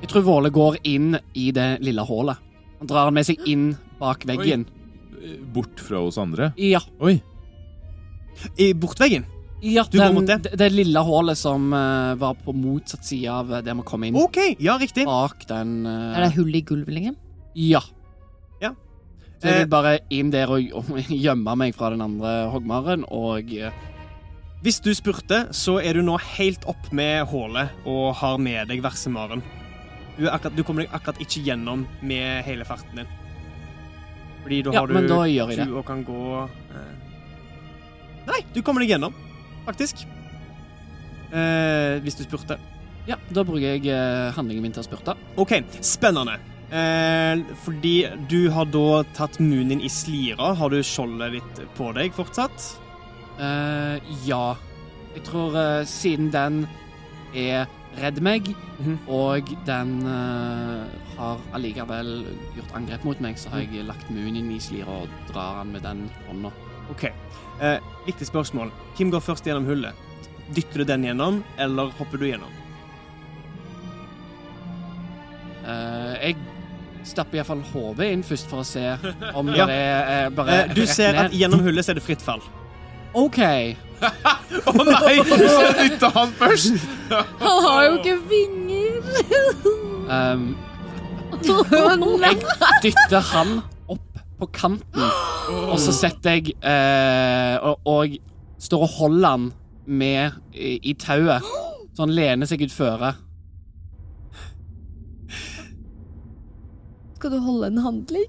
[SPEAKER 6] Jeg tror Våle går inn i det lille hullet. Han drar den med seg inn bak veggen.
[SPEAKER 4] Eh, Bort fra oss andre.
[SPEAKER 6] Ja.
[SPEAKER 4] Oi.
[SPEAKER 2] I bortveggen?
[SPEAKER 6] Ja,
[SPEAKER 2] Du går
[SPEAKER 6] den,
[SPEAKER 2] mot det?
[SPEAKER 6] det. Det lille hullet som eh, var på motsatt side av eh, der vi kom inn.
[SPEAKER 2] OK, ja, riktig.
[SPEAKER 6] Bak den eh,
[SPEAKER 11] Er det hull i gulvet, liksom?
[SPEAKER 6] Ja.
[SPEAKER 2] Ja.
[SPEAKER 6] Så jeg
[SPEAKER 2] Eh,
[SPEAKER 6] <laughs> vil bare inn der og og gjemme meg fra den andre hoggmaren og eh,
[SPEAKER 2] Hvis du spurte, så er du nå helt opp med hålet og har med deg versemaren. Du, er akkurat, du kommer deg akkurat ikke gjennom med hele farten din. Fordi da
[SPEAKER 6] Ja,
[SPEAKER 2] har du
[SPEAKER 6] men da gjør jeg det.
[SPEAKER 2] du og kan gå eh. Nei, du kommer deg gjennom, faktisk. Eh, hvis du spurte.
[SPEAKER 6] Ja, da bruker jeg eh, handlingen min til å spurte.
[SPEAKER 2] OK, spennende. Eh, fordi du har da tatt munnen din i slira. Har du skjoldet ditt på deg fortsatt?
[SPEAKER 6] Eh, ja. Jeg tror eh, siden den er Redd meg,
[SPEAKER 2] Mhm.
[SPEAKER 6] og den eh, har allikevel gjort angrep mot meg, så
[SPEAKER 2] Mhm.
[SPEAKER 6] har jeg lagt munnen inn i slira og drar han med den hånda.
[SPEAKER 2] OK. Eh, viktig spørsmål. Hvem går først gjennom hullet? Dytter du den gjennom, eller hopper du gjennom?
[SPEAKER 6] Eh, jeg stapper iallfall hodet inn først for å se om
[SPEAKER 2] <laughs>
[SPEAKER 6] det
[SPEAKER 2] Ja.
[SPEAKER 6] er eh, bare
[SPEAKER 2] Eh, du
[SPEAKER 6] rett
[SPEAKER 2] ser
[SPEAKER 6] ned.
[SPEAKER 2] at gjennom hullet så er det fritt fall.
[SPEAKER 6] OK.
[SPEAKER 4] Å nei! Du skal dytte han først!
[SPEAKER 11] Han har jo ikke vinger!
[SPEAKER 6] Um,
[SPEAKER 11] Å nei!
[SPEAKER 6] dytter han opp på kanten, og så setter jeg eh, og, og står og holder han med i, i tauet, så han lener seg ut føre.
[SPEAKER 5] Skal du holde en handling?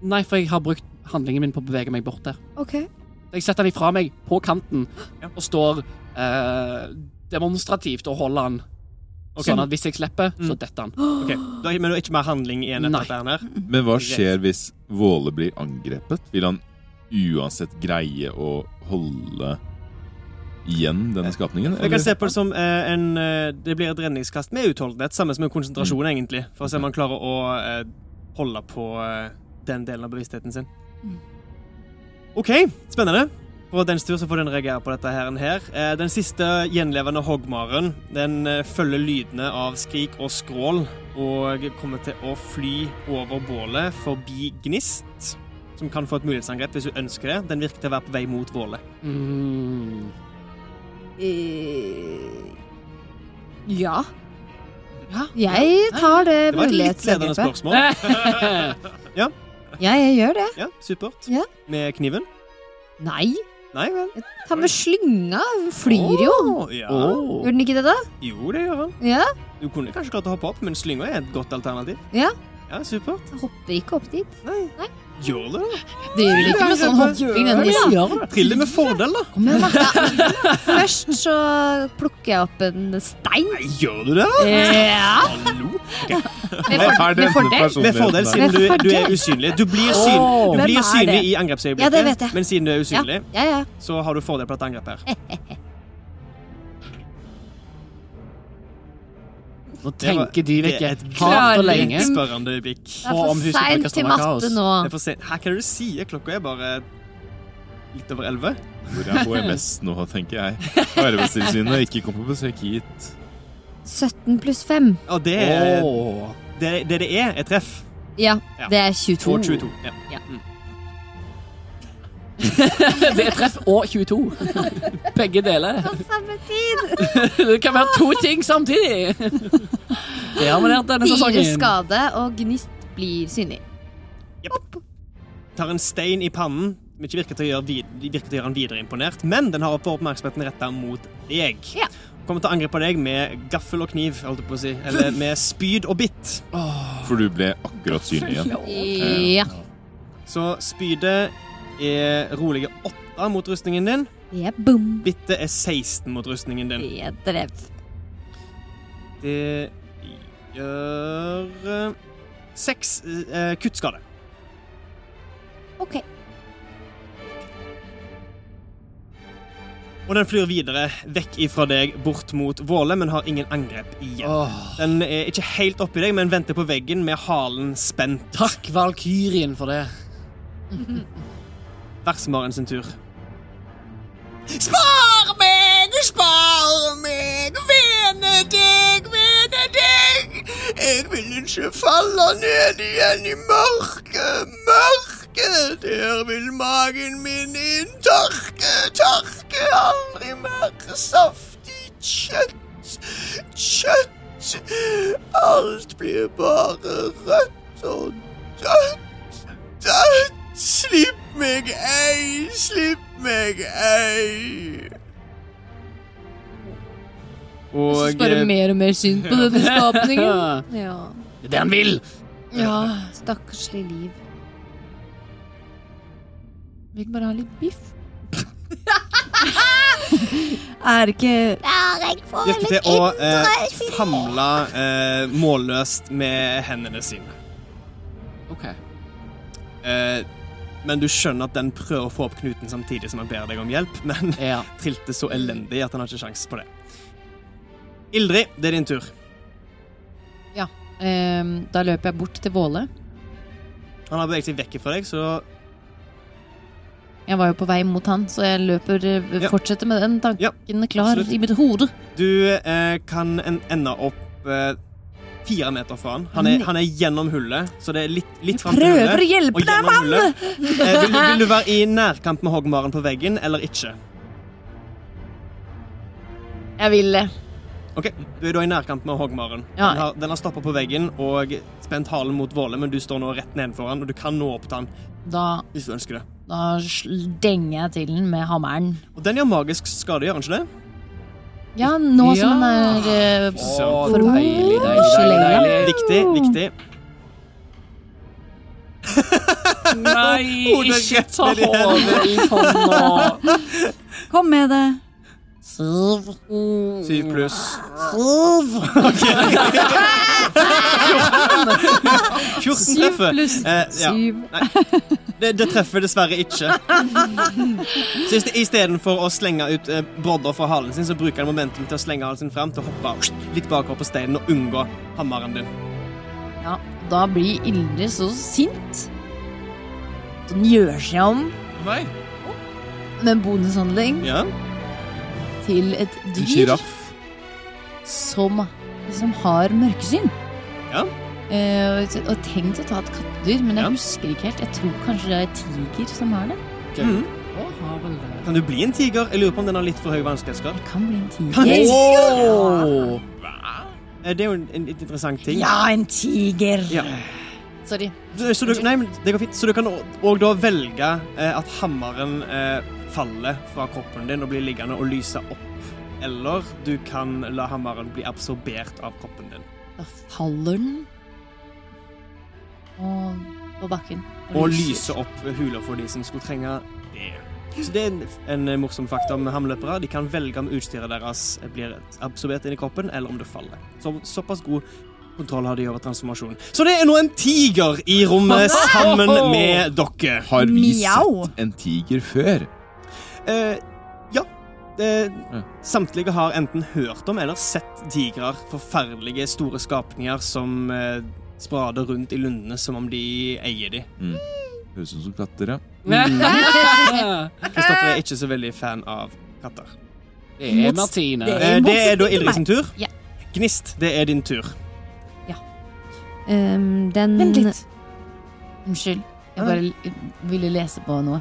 [SPEAKER 6] Nei, for jeg har brukt handlingen min på å bevege meg bort der.
[SPEAKER 5] OK.
[SPEAKER 6] Så Jeg setter han ifra meg på kanten og står eh, demonstrativt og holder han.
[SPEAKER 2] <laughs> Ok. Mm.
[SPEAKER 6] Sånn at hvis jeg slipper, så detter han.
[SPEAKER 2] Ok, du har, Men du har ikke mer handling igjen etter
[SPEAKER 6] Nei.
[SPEAKER 2] dette her?
[SPEAKER 4] Men hva skjer hvis Våle blir angrepet? Vil han uansett greie å holde igjen denne skapningen?
[SPEAKER 2] Vi kan
[SPEAKER 4] eller?
[SPEAKER 2] se på det som eh, en eh, Det blir et redningskast med utholdenhet, samme som en konsentrasjon, egentlig. For å se om han klarer å eh, holde på eh, den delen av bevisstheten sin. OK, spennende. På dens tur så får den reagere på dette her. her. Eh, Den siste gjenlevende hoggmaren den eh, følger lydene av skrik og skrål og kommer til å fly over bålet forbi Gnist, som kan få et mulighetsangrep hvis hun ønsker det. Den virker til å være på vei mot bålet.
[SPEAKER 6] Mm. <laughs>
[SPEAKER 5] Eh, ja.
[SPEAKER 6] Ja.
[SPEAKER 5] Jeg tar det
[SPEAKER 2] Det var et litt ledende
[SPEAKER 5] mulighetsangrepet.
[SPEAKER 2] spørsmål.
[SPEAKER 5] Ja, jeg gjør det.
[SPEAKER 2] Ja, supert.
[SPEAKER 5] Ja.
[SPEAKER 2] Med kniven?
[SPEAKER 5] Nei.
[SPEAKER 2] Nei vel.
[SPEAKER 5] Ta med slynga. Hun flyr jo.
[SPEAKER 2] Å, ja.
[SPEAKER 6] Åh.
[SPEAKER 5] Gjør den ikke det, da?
[SPEAKER 2] Jo, det gjør han.
[SPEAKER 5] Ja.
[SPEAKER 2] Du kunne kanskje klart å hoppe opp, men slynga er et godt alternativ.
[SPEAKER 5] Ja.
[SPEAKER 2] Ja, supert.
[SPEAKER 5] Jeg hopper ikke opp dit.
[SPEAKER 2] Gjør det, da.
[SPEAKER 11] Driver vel ikke med sånn hopping, den de sier.
[SPEAKER 2] Trill det med fordel, da.
[SPEAKER 5] Først så plukker jeg opp en stein.
[SPEAKER 2] Nei, gjør du det? da?
[SPEAKER 5] Ja.
[SPEAKER 2] Hallo?
[SPEAKER 5] Med, for, med fordel.
[SPEAKER 4] Sånn
[SPEAKER 2] Med fordel, siden
[SPEAKER 5] Med
[SPEAKER 2] du, du
[SPEAKER 5] fordel.
[SPEAKER 2] er usynlig. Du blir, syn,
[SPEAKER 6] Åh.
[SPEAKER 2] du
[SPEAKER 5] Hvem
[SPEAKER 2] blir
[SPEAKER 5] er
[SPEAKER 2] synlig
[SPEAKER 5] det?
[SPEAKER 2] i angrepsøyeblikket,
[SPEAKER 5] Ja, det vet jeg.
[SPEAKER 2] men siden du er
[SPEAKER 5] Ja,
[SPEAKER 2] usynlig,
[SPEAKER 5] ja, ja.
[SPEAKER 2] så har du fordel på dette angrepet her.
[SPEAKER 6] Nå
[SPEAKER 2] Det var-
[SPEAKER 6] tenker de
[SPEAKER 2] det er
[SPEAKER 6] vekk
[SPEAKER 2] et
[SPEAKER 6] hardt og
[SPEAKER 5] klarlegg.
[SPEAKER 6] lenge.
[SPEAKER 2] Spørrende øyeblikk.
[SPEAKER 5] Det er for seint til matte nå.
[SPEAKER 2] Jeg får se. Her kan du si klokka er bare litt over elleve.
[SPEAKER 4] Hvor er HMS nå, tenker jeg. Arbeidstilsynet ikke kom på besøk hit.
[SPEAKER 5] 17 pluss 5.
[SPEAKER 2] Og det, er-
[SPEAKER 6] Åh.
[SPEAKER 2] det, det det er, er treff.
[SPEAKER 5] Ja,
[SPEAKER 2] Ja.
[SPEAKER 5] det er 22.
[SPEAKER 2] Og 22. Ja.
[SPEAKER 6] <laughs> Det er treff og 22. <laughs> Begge deler. <laughs>
[SPEAKER 5] På samme tid!
[SPEAKER 6] Det kan være to ting <laughs> samtidig. Det har vi lært denne
[SPEAKER 5] Fire
[SPEAKER 6] sesongen.
[SPEAKER 5] skade, og Gnist blir synlig.
[SPEAKER 2] tar en stein i pannen, som ikke virker til å gjøre, vid virker til å gjøre han videre imponert, men den har opp- oppmerksomheten retta mot deg.
[SPEAKER 5] Ja.
[SPEAKER 2] Kommer til å angripe deg med gaffel og kniv, holdt jeg på å si. Eller med spyd og bitt.
[SPEAKER 4] For du ble akkurat synlig igjen.
[SPEAKER 5] Ja.
[SPEAKER 2] Så spydet er rolige åtte mot rustningen din.
[SPEAKER 5] Det er bom.
[SPEAKER 2] Bittet er 16 mot rustningen din.
[SPEAKER 5] Det er drev.
[SPEAKER 2] Det gjør eh, seks eh, kuttskade.
[SPEAKER 5] OK.
[SPEAKER 2] Og den flyr videre vekk ifra deg, bort mot Våle, men har ingen angrep igjen. Den er ikke helt oppi deg, men venter på veggen med halen spent.
[SPEAKER 6] Takk, Valkyrien, for det.
[SPEAKER 2] Versmaren sin tur.
[SPEAKER 12] Spar meg, spar meg, vene deg, vene deg. Jeg vil ikke falle ned igjen i mørket, mørket. Der vil magen min inntørke, tørke aldri mer saftig kjøtt, kjøtt. Alt blir bare rødt og dødt, dødt. Slipp meg ei, slipp meg ei.
[SPEAKER 11] Jeg
[SPEAKER 14] Og
[SPEAKER 11] synes bare
[SPEAKER 14] eh,
[SPEAKER 11] mer og mer synd på denne skapningen.
[SPEAKER 5] Ja.
[SPEAKER 13] Det er det han vil!
[SPEAKER 11] Ja.
[SPEAKER 5] Stakkarslig liv.
[SPEAKER 11] Vil bare ha litt biff.
[SPEAKER 3] Er ikke
[SPEAKER 2] Virker til å eh, famle eh, målløst med hendene sine.
[SPEAKER 6] OK.
[SPEAKER 2] Eh, men du skjønner at den prøver å få opp knuten samtidig som han ber deg om hjelp, <laughs> men
[SPEAKER 6] Ja.
[SPEAKER 2] trilte så elendig at han har ikke sjans på det. Ildrid, det er din tur.
[SPEAKER 11] Ehm, da løper jeg bort til Våle.
[SPEAKER 2] Han har beveget seg vekk fra deg, så
[SPEAKER 11] Jeg var jo på vei mot han, så jeg løper eh,
[SPEAKER 2] Ja.
[SPEAKER 11] fortsetter med den tanken klar
[SPEAKER 2] absolutt.
[SPEAKER 11] i mitt hode.
[SPEAKER 2] du eh, kan en ende opp eh, fire meter fra han. Han er, han er gjennom hullet, så det er litt, litt fram til hullet.
[SPEAKER 11] Prøver å hjelpe
[SPEAKER 2] og
[SPEAKER 11] deg,
[SPEAKER 2] gjennom hullet. Eh, vil, du- vil du være i nærkamp med hoggmaren på veggen eller ikke?
[SPEAKER 11] Jeg vil det.
[SPEAKER 2] Ok, Du er da i nærkamp med hoggmaren.
[SPEAKER 11] Ja.
[SPEAKER 2] Den har, den har stoppa på veggen og spent halen mot Våle, men du står nå rett nedenfor han, og du kan nå opp til han
[SPEAKER 11] Da,
[SPEAKER 2] hvis du ønsker det.
[SPEAKER 11] da sl- denger jeg til den med hammeren.
[SPEAKER 2] Og den gjør magisk skade, gjør den ikke det?
[SPEAKER 11] Ja, nå
[SPEAKER 6] Ja.
[SPEAKER 11] som den er eh,
[SPEAKER 6] Å,
[SPEAKER 11] for-
[SPEAKER 6] deilig, deilig,
[SPEAKER 11] Ikke
[SPEAKER 6] deilig.
[SPEAKER 11] lenger.
[SPEAKER 6] deilig.
[SPEAKER 2] Viktig, viktig.
[SPEAKER 6] Nei, ikke ta <laughs> hodet i hånda.
[SPEAKER 3] Kom med det.
[SPEAKER 11] Syv.
[SPEAKER 2] Syv pluss.
[SPEAKER 11] Syv.
[SPEAKER 2] 14
[SPEAKER 11] Syv
[SPEAKER 2] treffer.
[SPEAKER 11] pluss
[SPEAKER 2] Eh, ja.
[SPEAKER 11] syv.
[SPEAKER 2] Det, det treffer dessverre ikke. Så ist- Istedenfor å slenge ut eh, brodder fra halen sin, så bruker han momentum til å slenge halen sin fram til å hoppe litt bakover på steinen og unngå hammeren din.
[SPEAKER 11] Ja, da blir Ildre så sint. Så den gjør seg om
[SPEAKER 4] Nei.
[SPEAKER 11] med en bonushandling
[SPEAKER 2] Ja.
[SPEAKER 11] til et
[SPEAKER 4] En
[SPEAKER 11] dyr
[SPEAKER 4] sjiraff.
[SPEAKER 11] som, som har mørkesyn.
[SPEAKER 2] Ja.
[SPEAKER 11] Eh, og og tenkt å ta et kattedyr, men jeg
[SPEAKER 2] Ja.
[SPEAKER 11] husker ikke helt. Jeg tror kanskje det er tiger som har det.
[SPEAKER 2] Mhm.
[SPEAKER 6] Å, har vel det.
[SPEAKER 2] Kan du bli en tiger? Jeg lurer på om den har litt for høy vanskelighetsgrad.
[SPEAKER 11] Det kan bli en
[SPEAKER 2] Kan du-
[SPEAKER 11] tiger.
[SPEAKER 6] Åh.
[SPEAKER 2] Eh, Det er jo en, en litt interessant ting.
[SPEAKER 11] Ja, en tiger!
[SPEAKER 2] Ja.
[SPEAKER 11] Sorry.
[SPEAKER 2] Så du, nei, men det går fint. Så du kan òg da velge eh, at hammeren eh, faller fra kroppen din og blir liggende og lyse opp. Eller du kan la hammeren bli absorbert av kroppen din.
[SPEAKER 11] Da faller den og på bakken.
[SPEAKER 2] Og lyse opp huler for de som skulle trenge det. Så det er en, en eh, morsom fakta om hamløpere. De kan velge om utstyret deres blir absorbert inn i kroppen, eller om det faller. Så, såpass god kontroll har de over transformasjon. Så det er nå en tiger i rommet sammen med dere.
[SPEAKER 4] Har vi
[SPEAKER 3] Miau.
[SPEAKER 4] sett en tiger før?
[SPEAKER 2] Eh, ja. Eh, samtlige har enten hørt om eller sett tigrer. Forferdelige, store skapninger som eh, sprader rundt i lundene som om de eier de.
[SPEAKER 4] Høres ut som katter, ja.
[SPEAKER 2] Kristoffer er ikke så veldig fan av katter.
[SPEAKER 6] Det er Martine.
[SPEAKER 3] Det
[SPEAKER 2] Eh, det er
[SPEAKER 3] er
[SPEAKER 2] da
[SPEAKER 3] motsetning til
[SPEAKER 2] Ildrid sin tur.
[SPEAKER 11] Ja.
[SPEAKER 2] Gnist, det er din tur.
[SPEAKER 5] Ehm, den
[SPEAKER 11] Vent litt. eh, Unnskyld. Jeg bare l- ville lese på noe.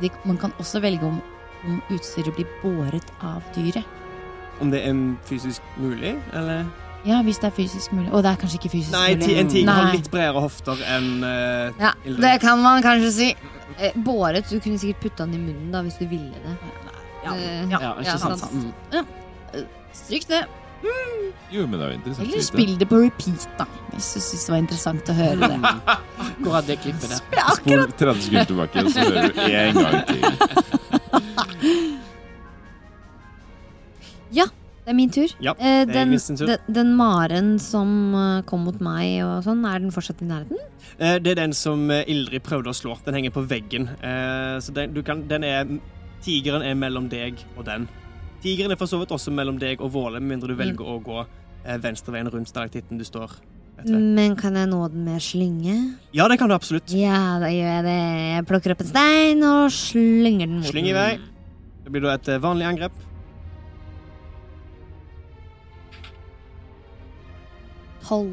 [SPEAKER 11] De, man kan også velge om, om utstyret blir båret av dyret.
[SPEAKER 2] Om det er fysisk mulig, eller?
[SPEAKER 11] Ja, hvis det er fysisk mulig. Å, det er kanskje ikke fysisk
[SPEAKER 2] Nei, ti-
[SPEAKER 11] mulig.
[SPEAKER 2] en tiger har
[SPEAKER 11] Nei.
[SPEAKER 2] litt bredere hofter enn eh,
[SPEAKER 5] Ja,
[SPEAKER 2] Ildrid.
[SPEAKER 5] det kan man kanskje si. Eh, Båret. Du kunne sikkert putta den i munnen da, hvis du ville det.
[SPEAKER 3] Ja.
[SPEAKER 5] Eh,
[SPEAKER 6] Ja, ikke sant? Mm.
[SPEAKER 11] Stryk det.
[SPEAKER 4] Jo, men det er jo interessant. å
[SPEAKER 11] Eller
[SPEAKER 4] vite.
[SPEAKER 11] spill det på repeat, da. Jeg syns det var interessant å høre
[SPEAKER 2] <laughs>
[SPEAKER 11] det.
[SPEAKER 6] Akkurat det klippet der.
[SPEAKER 4] Spol 30 sekunder tilbake, så hører du en gang til.
[SPEAKER 5] Det er min tur.
[SPEAKER 2] Ja, det
[SPEAKER 5] Eh,
[SPEAKER 2] er
[SPEAKER 5] den,
[SPEAKER 2] Gnist sin tur.
[SPEAKER 5] den, den maren som eh, kom mot meg og sånn, er den fortsatt i nærheten?
[SPEAKER 2] Eh, Det er den som eh, Ildrid prøvde å slå. Den henger på veggen. Eh, Så den, du kan, den er Tigeren er mellom deg og den. Tigeren er for så vidt også mellom deg og Våle, med mindre du velger å gå eh, venstreveien rundt stalaktitten du står rett ved.
[SPEAKER 5] Men kan jeg nå den med slynge?
[SPEAKER 2] Ja, det kan du absolutt.
[SPEAKER 5] Ja, da gjør jeg det. Jeg plukker opp en stein og slynger den mot
[SPEAKER 2] Slyng i vei.
[SPEAKER 5] den.
[SPEAKER 2] Det blir da et eh, vanlig angrep.
[SPEAKER 5] Tolv.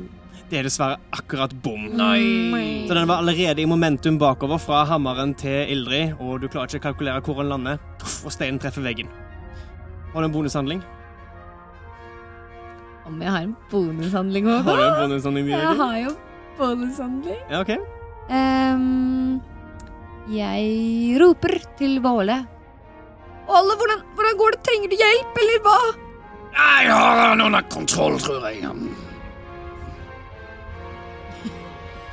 [SPEAKER 2] Det er dessverre akkurat bom.
[SPEAKER 5] Nei.
[SPEAKER 2] Så den var allerede i momentum bakover fra hammeren til Ildrid, og du klarer ikke å kalkulere hvor den lander, Tuff, og steinen treffer veggen. Har du en bonushandling?
[SPEAKER 5] Om jeg har en bonushandling òg,
[SPEAKER 2] Har du en bonushandling?
[SPEAKER 5] Jeg
[SPEAKER 2] Diri?
[SPEAKER 5] har jo bonushandling.
[SPEAKER 2] Ja, ok.
[SPEAKER 5] Ehm, jeg roper til Våle. Alle, hvordan, hvordan går det? Trenger du hjelp, eller hva?
[SPEAKER 6] Ah,
[SPEAKER 13] Jeg har han under kontroll, tror jeg.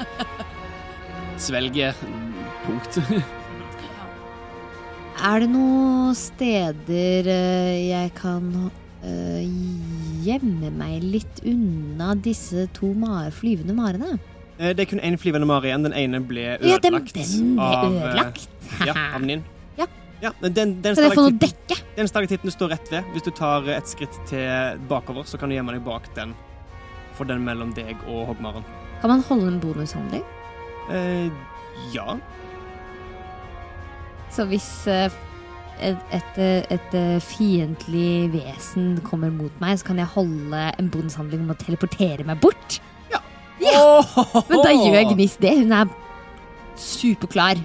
[SPEAKER 6] <laughs> Svelget tungt.
[SPEAKER 5] Er det noen steder eh, jeg kan eh, gjemme meg litt unna disse to ma flyvende marene?
[SPEAKER 2] Eh, Det er kun én flyvende mare igjen. Den ene ble
[SPEAKER 5] Ja, den-
[SPEAKER 2] ødelagt.
[SPEAKER 5] den ble
[SPEAKER 2] av, eh,
[SPEAKER 5] ødelagt.
[SPEAKER 2] ja,
[SPEAKER 5] <laughs>
[SPEAKER 2] av Nin.
[SPEAKER 5] Ja.
[SPEAKER 2] men den, den
[SPEAKER 5] Skal jeg få noe
[SPEAKER 2] stalaktitten- Den stalaktitten du står rett ved. Hvis du tar eh, et skritt til bakover, så kan du gjemme deg bak den. For den mellom deg og hoggmaren.
[SPEAKER 5] Kan man holde en bonushandling?
[SPEAKER 2] Eh, ja.
[SPEAKER 5] Så hvis eh, et, et, et eh, fiendtlig vesen kommer mot meg, så kan jeg holde en bonushandling om å teleportere meg bort? Ja! Men da gjør Gnist det. Hun er superklar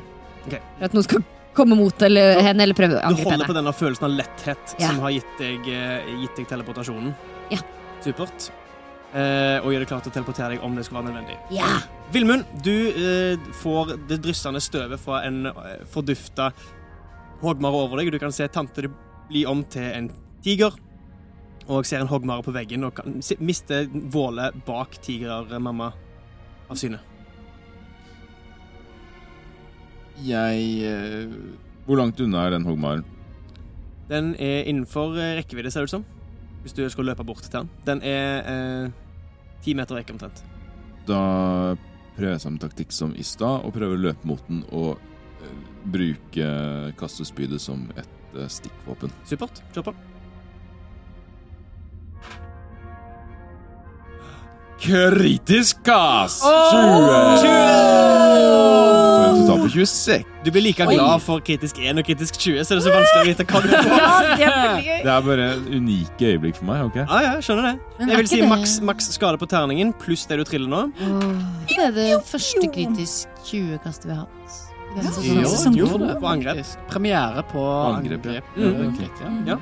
[SPEAKER 2] Ok.
[SPEAKER 5] for at noen skal komme mot eller, henne eller prøve å
[SPEAKER 2] Du
[SPEAKER 5] angripe
[SPEAKER 2] holder på
[SPEAKER 5] henne.
[SPEAKER 2] denne følelsen av letthet
[SPEAKER 5] Ja.
[SPEAKER 2] som har gitt deg, eh, gitt deg teleportasjonen.
[SPEAKER 5] Ja.
[SPEAKER 2] Supert. Eh, og gjør deg klar til å teleportere deg om det skulle være nødvendig.
[SPEAKER 5] Ja.
[SPEAKER 2] Vilmund, du eh, får det dryssende støvet fra en eh, fordufta hoggmare over deg. Du kan se tante di bli om til en tiger, og ser en hoggmare på veggen og kan si- miste vålet bak tigermamma av syne.
[SPEAKER 4] Jeg eh, Hvor langt unna er den hoggmaren?
[SPEAKER 2] Den er innenfor eh, rekkevidde, ser det ut som. Hvis du skulle løpe bort til den. Den er eh, ti meter vekk omtrent.
[SPEAKER 4] Da prøver jeg samme taktikk som i stad, og prøver å løpe mot den og eh, bruke kastespydet som et eh, stikkvåpen.
[SPEAKER 2] Supert. Kjør på.
[SPEAKER 4] Kritisk kast! 20! For en total på 26.
[SPEAKER 2] Du blir like
[SPEAKER 4] Oi.
[SPEAKER 2] glad for kritisk 1 og kritisk 20, så det er så vanskelig å vite hva du
[SPEAKER 11] <laughs>
[SPEAKER 2] får.
[SPEAKER 4] Det er bare unike øyeblikk for meg. ok?
[SPEAKER 2] Ja, ja, skjønner det.
[SPEAKER 11] Men er
[SPEAKER 2] Jeg vil
[SPEAKER 11] ikke
[SPEAKER 2] si
[SPEAKER 11] det-
[SPEAKER 2] maks, maks skade på terningen pluss det du triller nå.
[SPEAKER 11] Det er det første kritisk 20-kastet vi har hatt. i denne sesongen.
[SPEAKER 6] Jo,
[SPEAKER 2] sesong
[SPEAKER 6] jo,
[SPEAKER 2] to.
[SPEAKER 6] det,
[SPEAKER 2] På angrep.
[SPEAKER 6] faktisk. Premiere på
[SPEAKER 4] angrep,
[SPEAKER 6] angrep.
[SPEAKER 4] ja.
[SPEAKER 6] Mm.
[SPEAKER 4] Mm.
[SPEAKER 6] Greit, ja.
[SPEAKER 2] Ja.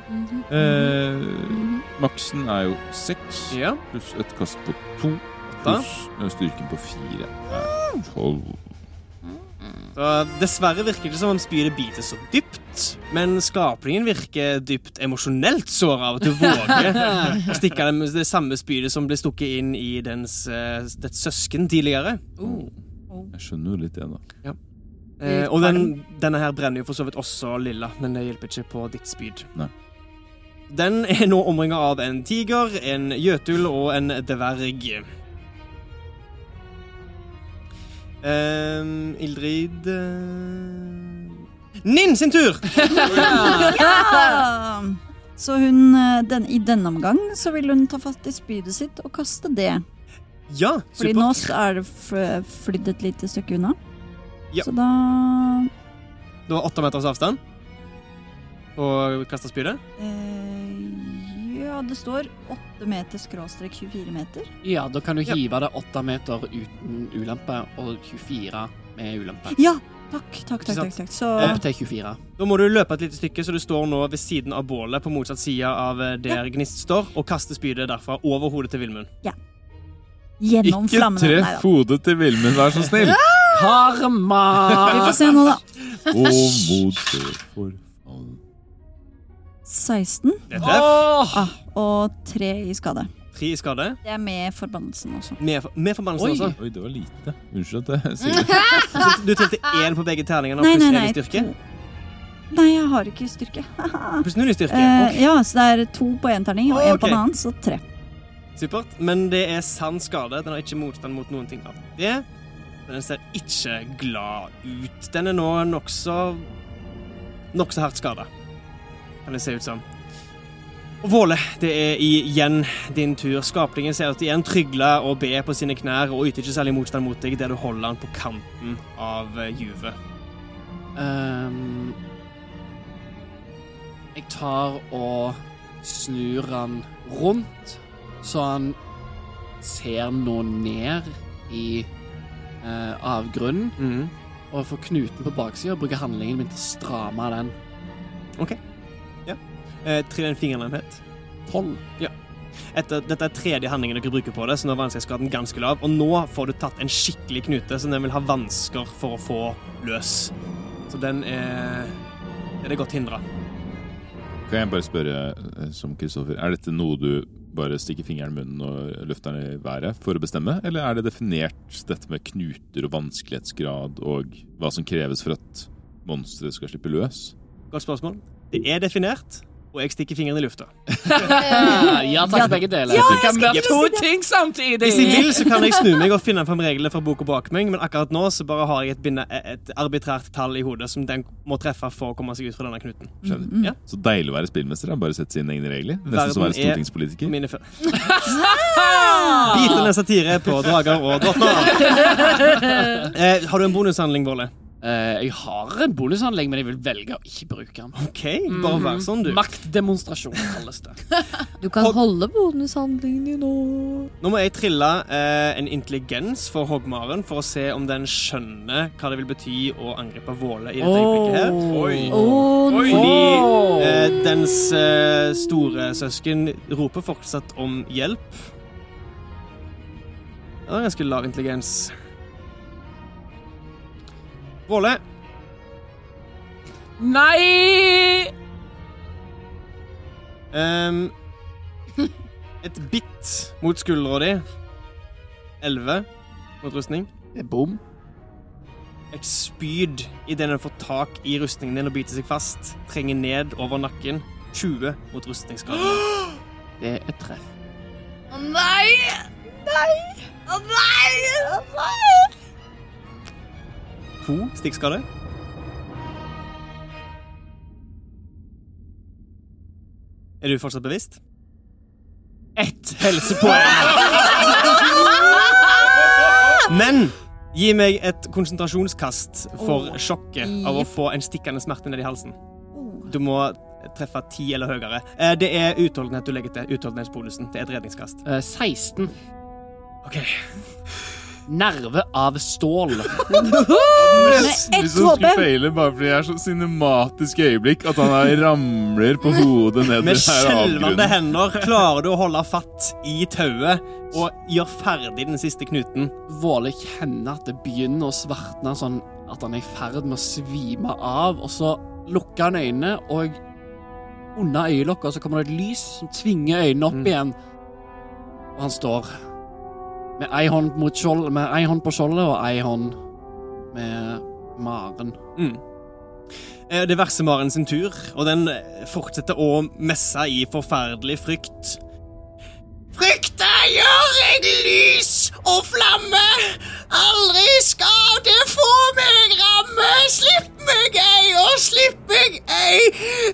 [SPEAKER 4] Eh, maksen er jo seks
[SPEAKER 2] Ja.
[SPEAKER 4] pluss et kast på to.
[SPEAKER 2] Da.
[SPEAKER 4] Pluss eh, styrken på fire. er Tolv.
[SPEAKER 2] Så dessverre virker det som om spydet biter så dypt, men skapningen virker dypt emosjonelt såra av at du våger
[SPEAKER 11] <laughs>
[SPEAKER 2] å stikke det, det samme spydet som ble stukket inn i dens, eh, dets søsken tidligere.
[SPEAKER 11] <laughs>
[SPEAKER 4] Jeg skjønner jo litt det, da.
[SPEAKER 2] Eh, og den, denne her brenner jo for så vidt også lilla, men det hjelper ikke på ditt spyd.
[SPEAKER 4] Nei.
[SPEAKER 2] Den er nå omringa av en tiger, en gjøtul og en dverg. Ehm, Ildrid eh, Ninn sin tur!
[SPEAKER 3] Ja! <laughs> Så hun, eh, den, i denne omgang så vil hun ta fatt i spydet sitt og kaste det.
[SPEAKER 2] Ja,
[SPEAKER 3] Fordi
[SPEAKER 2] supert.
[SPEAKER 3] nå s- er det f- flydd et lite stykke unna.
[SPEAKER 2] Ja.
[SPEAKER 3] Så da
[SPEAKER 2] Det var åtte meters avstand. Og kasta spydet.
[SPEAKER 3] eh, Ja, det står 8 meter skråstrek 24 meter.
[SPEAKER 6] Ja, da kan du
[SPEAKER 2] Ja.
[SPEAKER 6] hive det åtte meter uten ulempe, og 24 med ulempe.
[SPEAKER 3] Ja! Takk, takk,
[SPEAKER 2] Ikke
[SPEAKER 3] takk.
[SPEAKER 2] sant?
[SPEAKER 3] takk, takk. Så
[SPEAKER 6] Opp til 24.
[SPEAKER 2] Da må du løpe et lite stykke, så du står nå ved siden av bålet på motsatt side av eh, der Gnist står, og kaster spydet derfra over hodet til Vilmund.
[SPEAKER 3] gjennom
[SPEAKER 4] Ikke
[SPEAKER 3] flammene. Neida.
[SPEAKER 4] treff hodet til Vilmund, vær så snill!
[SPEAKER 6] <laughs>
[SPEAKER 3] Vi
[SPEAKER 6] Karma!
[SPEAKER 3] får se nå, da.
[SPEAKER 4] Og mot det forfall.
[SPEAKER 3] 16
[SPEAKER 2] Det er treff.
[SPEAKER 6] Oh,
[SPEAKER 3] ah, og 3 i skade.
[SPEAKER 2] Tre i skade.
[SPEAKER 3] Det er med forbannelsen også.
[SPEAKER 2] Med, med forbannelsen
[SPEAKER 4] Oi.
[SPEAKER 2] også.
[SPEAKER 4] Oi, det var lite. Unnskyld at jeg sier det.
[SPEAKER 2] Så Du trilte én på begge terningene, og
[SPEAKER 3] Nei,
[SPEAKER 2] pluss
[SPEAKER 3] nei,
[SPEAKER 2] én i
[SPEAKER 3] nei.
[SPEAKER 2] styrke.
[SPEAKER 3] Nei, jeg har ikke styrke.
[SPEAKER 2] Pluss null i styrke.
[SPEAKER 3] Eh, ja, så det er to på én terning og én på
[SPEAKER 2] Ok.
[SPEAKER 3] en annen, så tre.
[SPEAKER 2] Supert. Men det er sann skade. Den har ikke motstand mot noen ting av det. Men den ser ikke glad ut. Den er nå nokså Nokså hardt skada, kan det se ut som. Og Våle, det er igjen din tur. Skapningen ser ut igjen trygle og be på sine knær og yter ikke særlig motstand mot deg der du holder han på kanten av eh, juvet.
[SPEAKER 6] Ehm, jeg tar og snur han rundt, så han ser nå ned i eh, avgrunnen.
[SPEAKER 2] Mm.
[SPEAKER 6] Og får knuten på baksida og bruker handlingen min til å stramme den.
[SPEAKER 2] Eh, Trill en fingernemhet.
[SPEAKER 6] Tolv.
[SPEAKER 2] Etter, dette er tredje handlingen dere bruker på det, så nå er vanskelighetsgraden ganske lav. Og nå får du tatt en skikkelig knute som den vil ha vansker for å få løs. Så den er Den er godt hindra.
[SPEAKER 4] Kan jeg bare spørre, eh, som Kristoffer, er dette noe du bare stikker fingeren i munnen og løfter den i været for å bestemme, eller er det definert dette med knuter og vanskelighetsgrad og hva som kreves for at monsteret skal slippe løs?
[SPEAKER 2] Godt spørsmål. Det er definert, og jeg stikker fingeren i lufta.
[SPEAKER 6] ja takk, begge
[SPEAKER 2] Eh,
[SPEAKER 6] deler.
[SPEAKER 2] Ja,
[SPEAKER 6] det kan
[SPEAKER 2] jeg
[SPEAKER 6] være
[SPEAKER 2] skulle
[SPEAKER 6] to
[SPEAKER 2] si det.
[SPEAKER 6] ting samtidig.
[SPEAKER 2] Hvis jeg vil, så kan jeg snu meg og finne frem reglene fra boka bak meg, men akkurat nå så bare har jeg et, binde, et arbitrært tall i hodet som den må treffe for å komme seg ut fra denne knuten.
[SPEAKER 4] Skjønner.
[SPEAKER 2] Mm. Ja.
[SPEAKER 4] Så deilig å være spillmester. da. Bare sette sine egne regler. Nesten som å
[SPEAKER 2] Verden
[SPEAKER 4] være stortingspolitiker.
[SPEAKER 2] Mine fø- Bitende satire på drager og drottner. Eh, har du en bonushandling, Bolle?
[SPEAKER 6] Eh, jeg har en bonushandling, men jeg vil velge å ikke bruke den.
[SPEAKER 2] Ok, bare
[SPEAKER 6] Mhm.
[SPEAKER 2] vær sånn, du.
[SPEAKER 6] Maktdemonstrasjon kalles det.
[SPEAKER 5] Du kan holde bonushandlingen din nå.
[SPEAKER 2] Nå må jeg trille eh, en intelligens for hoggmaren for å se om den skjønner hva det vil bety å angripe Våle i dette øyeblikket her.
[SPEAKER 5] Å, nei.
[SPEAKER 2] Fordi eh, dens eh, store søsken roper fortsatt om hjelp. Det var ganske lav intelligens. Våle,
[SPEAKER 6] Nei!
[SPEAKER 2] ehm, et bitt mot skuldra di. 11 mot rustning.
[SPEAKER 6] Det er bom.
[SPEAKER 2] Et spyd idet den får tak i rustningen din og biter seg fast. Trenger ned over nakken. 20 mot rustningsskaden.
[SPEAKER 6] Det er treff.
[SPEAKER 12] Å nei! Nei! Å nei! Å nei!
[SPEAKER 2] <gasps> To stikkskader. Er du fortsatt bevisst? Ett <laughs> Men gi meg et konsentrasjonskast for
[SPEAKER 1] Åh.
[SPEAKER 2] sjokket av å få en stikkende smerte ned i halsen. Du må treffe ti eller høyere. Eh, Det er utholdenhet du legger til. Utholdenhetsbonusen. Det er et redningskast.
[SPEAKER 6] Eh, 16.
[SPEAKER 2] OK.
[SPEAKER 6] Nerve av stål.
[SPEAKER 4] Hvis han skulle feile bare fordi jeg er så cinematisk øyeblikk at han her ramler på hodet ned
[SPEAKER 2] Med
[SPEAKER 4] i her
[SPEAKER 2] skjelvende
[SPEAKER 4] avgrunnen.
[SPEAKER 2] hender klarer du å holde fatt i tauet og gjør ferdig den siste knuten.
[SPEAKER 6] Våle kjenner at det begynner å svartne, sånn at han er i ferd med å svime av. Og så lukker han øynene, og under øyelokket så kommer det et lys som tvinger
[SPEAKER 17] Mm.
[SPEAKER 6] øynene opp igjen. Og han står med ei hånd, mot skjold, med ei hånd på skjoldet og ei hånd med maren.
[SPEAKER 2] Mm. Eh, Det er versemaren sin tur, og den eh, fortsetter å messe i forferdelig frykt.
[SPEAKER 12] Frykta gjør jeg lys og flamme. Aldri skal det få meg ramme. Slipp meg ei og slipp meg ei,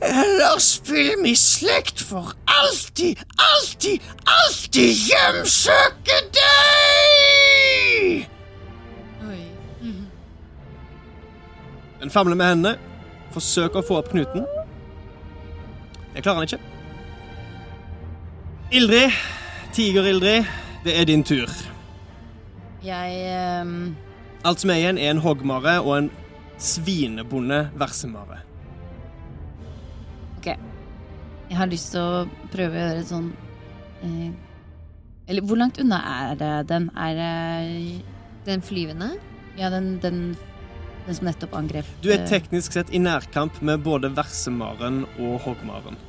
[SPEAKER 12] ellers vil mi slekt for alltid, alltid, alltid hjemsøke deg.
[SPEAKER 2] Den famler med hendene, forsøker å få opp knuten. Det klarer han ikke. Ildrid, Tiger-Ildrid, det er din tur.
[SPEAKER 11] Jeg ehm,
[SPEAKER 2] Alt som er igjen, er en hoggmare og en svinebonde versemare.
[SPEAKER 11] Ok. Jeg har lyst til å prøve å gjøre et sånn eh, Eller hvor langt unna er det den? Er det
[SPEAKER 5] Den flyvende?
[SPEAKER 11] Ja, den, den, den som nettopp angrep.
[SPEAKER 2] Du er
[SPEAKER 11] eh,
[SPEAKER 2] teknisk sett i nærkamp med både versemaren og hoggmaren.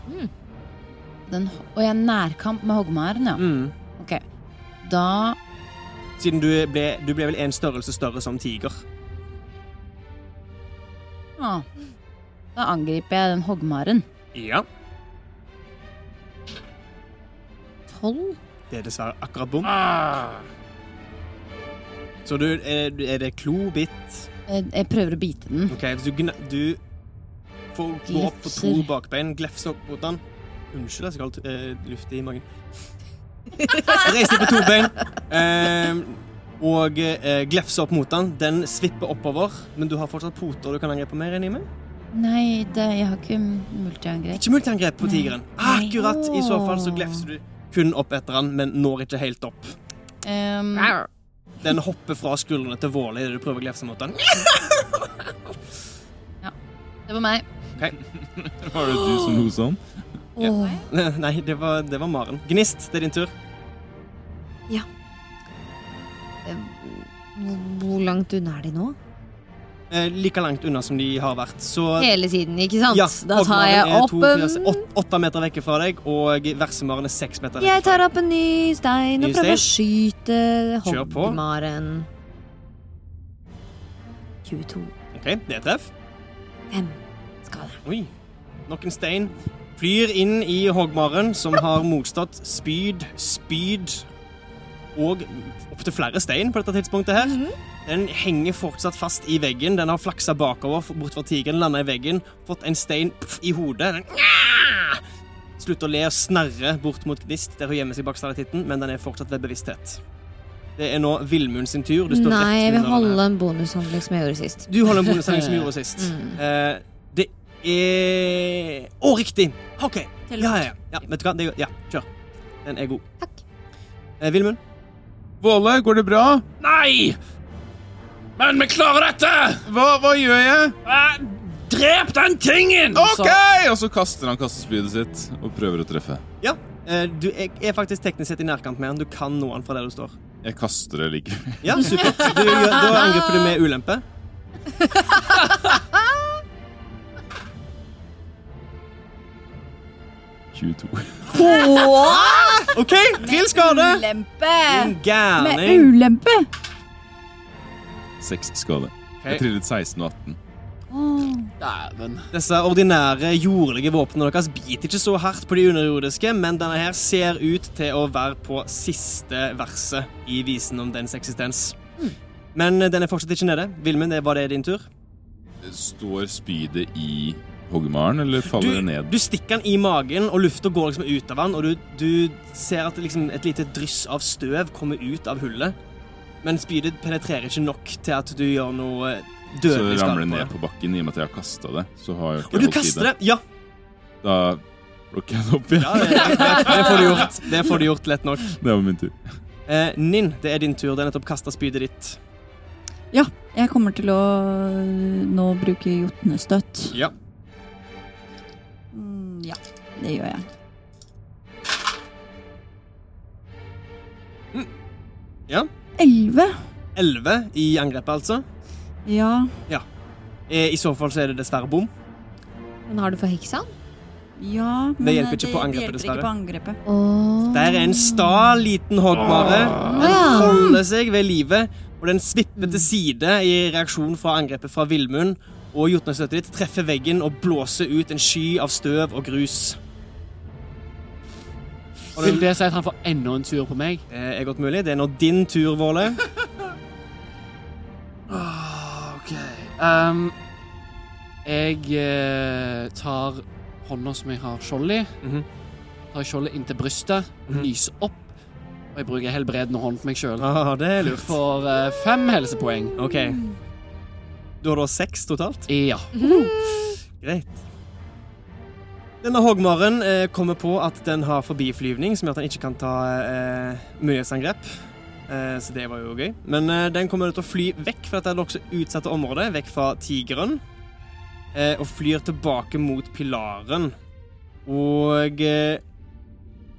[SPEAKER 11] den, Og jeg er nærkamp med hoggmaren, ja.
[SPEAKER 12] Mm.
[SPEAKER 11] Ok. Da
[SPEAKER 2] Siden du ble, du ble vel en størrelse større som tiger.
[SPEAKER 11] ah, Da angriper jeg den hoggmaren.
[SPEAKER 2] Ja.
[SPEAKER 11] Tolv?
[SPEAKER 2] Det er dessverre akkurat bom. Så du, er, er det klo, bitt?
[SPEAKER 11] Eh, Jeg prøver å bite den.
[SPEAKER 2] Ok, så du, gna- du får gå opp på to
[SPEAKER 11] Glefser.
[SPEAKER 2] bakbein, glefse opp mot den. Unnskyld, jeg skal ha eh, luft i
[SPEAKER 11] <laughs>
[SPEAKER 2] magen. Reise på to bein eh, og eh, glefse opp mot den. Den svipper oppover, men du har fortsatt poter du kan angripe mer enn i meg.
[SPEAKER 11] Nei, det, jeg har ikke multiangrep.
[SPEAKER 2] Ikke multiangrep på tigeren.
[SPEAKER 11] Nei.
[SPEAKER 2] Akkurat! I så fall så glefser du kun opp etter den, men når ikke helt opp.
[SPEAKER 11] Ehm,
[SPEAKER 2] Den hopper fra skuldrene til Våle idet du prøver å glefse mot den.
[SPEAKER 11] det var meg.
[SPEAKER 2] Ok.
[SPEAKER 4] Var det du som lo sånn?
[SPEAKER 11] Åh.
[SPEAKER 2] <laughs> Nei, det var, det var Maren. Gnist, det er din tur.
[SPEAKER 5] Hvor- Hvor langt unna er de nå?
[SPEAKER 2] Eh, like langt unna som de har vært, så
[SPEAKER 5] Hele tiden, ikke sant?
[SPEAKER 2] Ja,
[SPEAKER 5] da
[SPEAKER 2] Oddmaren
[SPEAKER 5] tar jeg
[SPEAKER 2] er
[SPEAKER 5] opp
[SPEAKER 2] to,
[SPEAKER 5] um,
[SPEAKER 2] fire, se-
[SPEAKER 5] en
[SPEAKER 2] åtte. åtte meter vekke fra deg, og versemaren er seks meter
[SPEAKER 5] Jeg tar opp en ny stein
[SPEAKER 2] Ny
[SPEAKER 5] og prøver å skyte
[SPEAKER 2] Kjør på.
[SPEAKER 5] hoggmaren. 22.
[SPEAKER 2] OK, det er treff.
[SPEAKER 5] Fem skade.
[SPEAKER 2] Oi. Nok en stein. Flyr inn i hoggmaren, som har motstått spyd, spyd og opptil flere stein på dette tidspunktet her.
[SPEAKER 5] Mhm.
[SPEAKER 2] Den henger fortsatt fast i veggen. Den har flaksa bakover f- bortover tigeren, landa i veggen, fått en stein pff, i hodet. Den Ah! slutter å le og snerre bort mot Gnist, der hun gjemmer seg bak stalaktitten, men den er fortsatt ved bevissthet. Det er nå Villmund sin tur. Du står
[SPEAKER 5] Nei,
[SPEAKER 2] rett
[SPEAKER 5] jeg vil
[SPEAKER 2] under den her.
[SPEAKER 5] holde en bonushandling som jeg gjorde sist.
[SPEAKER 2] Du holder en bonushandling som vi gjorde
[SPEAKER 3] <laughs>
[SPEAKER 2] sist.
[SPEAKER 3] Mm.
[SPEAKER 2] Eh, det er Å, riktig! OK. Ja, ja, ja. ja. Vet du hva? Det er... Ja, kjør. Den er god. Takk. Vilmund?
[SPEAKER 17] Våle, går det bra? Nei! Men vi klarer dette! Hva, hva gjør jeg? drep den tingen!
[SPEAKER 4] Ok!
[SPEAKER 17] OK!
[SPEAKER 4] Og så kaster han kastespydet sitt og prøver å treffe.
[SPEAKER 2] Ja. eh, du er, er faktisk teknisk sett i nærkamp med han. Du kan nå han fra der du står.
[SPEAKER 4] Jeg kaster det <laughs> likevel.
[SPEAKER 2] Ja,
[SPEAKER 3] <laughs>
[SPEAKER 2] supert. Du, gjør- da angriper du med ulempe.
[SPEAKER 15] Hahaha!
[SPEAKER 4] 22.
[SPEAKER 2] OK, trill skade.
[SPEAKER 3] Ulempe!
[SPEAKER 2] Din gærning.
[SPEAKER 3] Med ulempe!
[SPEAKER 4] Seks skade. Jeg trillet 16 og 18.
[SPEAKER 6] Dæven.
[SPEAKER 2] Disse ordinære jordlige våpnene deres biter ikke så hardt på de underjordiske, men denne her ser ut til å være på siste verset i visen om dens eksistens. Men den er fortsatt ikke nede. Vilmen, det var det din tur?
[SPEAKER 4] Står spydet i hoggmaren, eller faller det ned?
[SPEAKER 2] Du stikker den i magen, og lufta går liksom ut av den, og du, du ser at det liksom et lite dryss av støv kommer ut av hullet. Men spydet penetrerer ikke nok til at du gjør noe
[SPEAKER 4] Så
[SPEAKER 2] dødelig
[SPEAKER 4] ramler
[SPEAKER 2] skade
[SPEAKER 4] det
[SPEAKER 2] på det.
[SPEAKER 4] ned på bakken i og med at jeg har kasta det. Så har jeg ikke
[SPEAKER 2] Og du
[SPEAKER 4] holdt i
[SPEAKER 2] kaster det! Ja,
[SPEAKER 4] Da plukker jeg det opp igjen.
[SPEAKER 2] det, det, det får du gjort. Det får du gjort lett nok.
[SPEAKER 4] Det var min tur.
[SPEAKER 2] Eh, Ninn, det er din tur. Det er nettopp kasta spydet ditt.
[SPEAKER 3] Ja, jeg kommer til å øh, nå bruke jotnestøtt.
[SPEAKER 2] Ja.
[SPEAKER 3] Mm, ja, det gjør jeg.
[SPEAKER 2] Ja.
[SPEAKER 3] Elleve.
[SPEAKER 2] Elleve i angrepet, altså.
[SPEAKER 3] Ja.
[SPEAKER 2] Ja. Eh, I så fall så er det dessverre bom.
[SPEAKER 5] Men har du forheksa han?
[SPEAKER 3] ja men øh,
[SPEAKER 2] hjelper ikke på angrepet,
[SPEAKER 3] hjelper
[SPEAKER 2] dessverre.
[SPEAKER 3] Ikke på angrepet.
[SPEAKER 2] Der er en sta liten hoggmare. Den holder seg ved live, og den svipper til side i reaksjon fra angrepet fra Villmund. Og jotnestøtet ditt treffer veggen og blåser ut en sky av støv og grus. Og
[SPEAKER 6] Vil det si at han får enda en tur på meg?
[SPEAKER 2] Det Eh, er godt mulig. Det er nå din tur, Våle.
[SPEAKER 6] OK. Um, jeg eh, tar hånda som jeg har skjold i. Tar skjoldet inntil brystet, lyser opp, og jeg bruker helbredende hånd på meg sjøl.
[SPEAKER 2] Ah, det er lurt.
[SPEAKER 6] Får eh, fem helsepoeng.
[SPEAKER 2] OK. Du har da seks totalt?
[SPEAKER 6] Ja.
[SPEAKER 2] Greit. Denne hoggmaren eh, kommer på at den har forbiflyvning, som gjør at den ikke kan ta eh, mulighetsangrep. Eh, så det var jo gøy. Men eh, den kommer til å fly vekk fra dette nokså utsatte området, vekk fra tigeren, eh, og flyr tilbake mot pilaren. Og eh,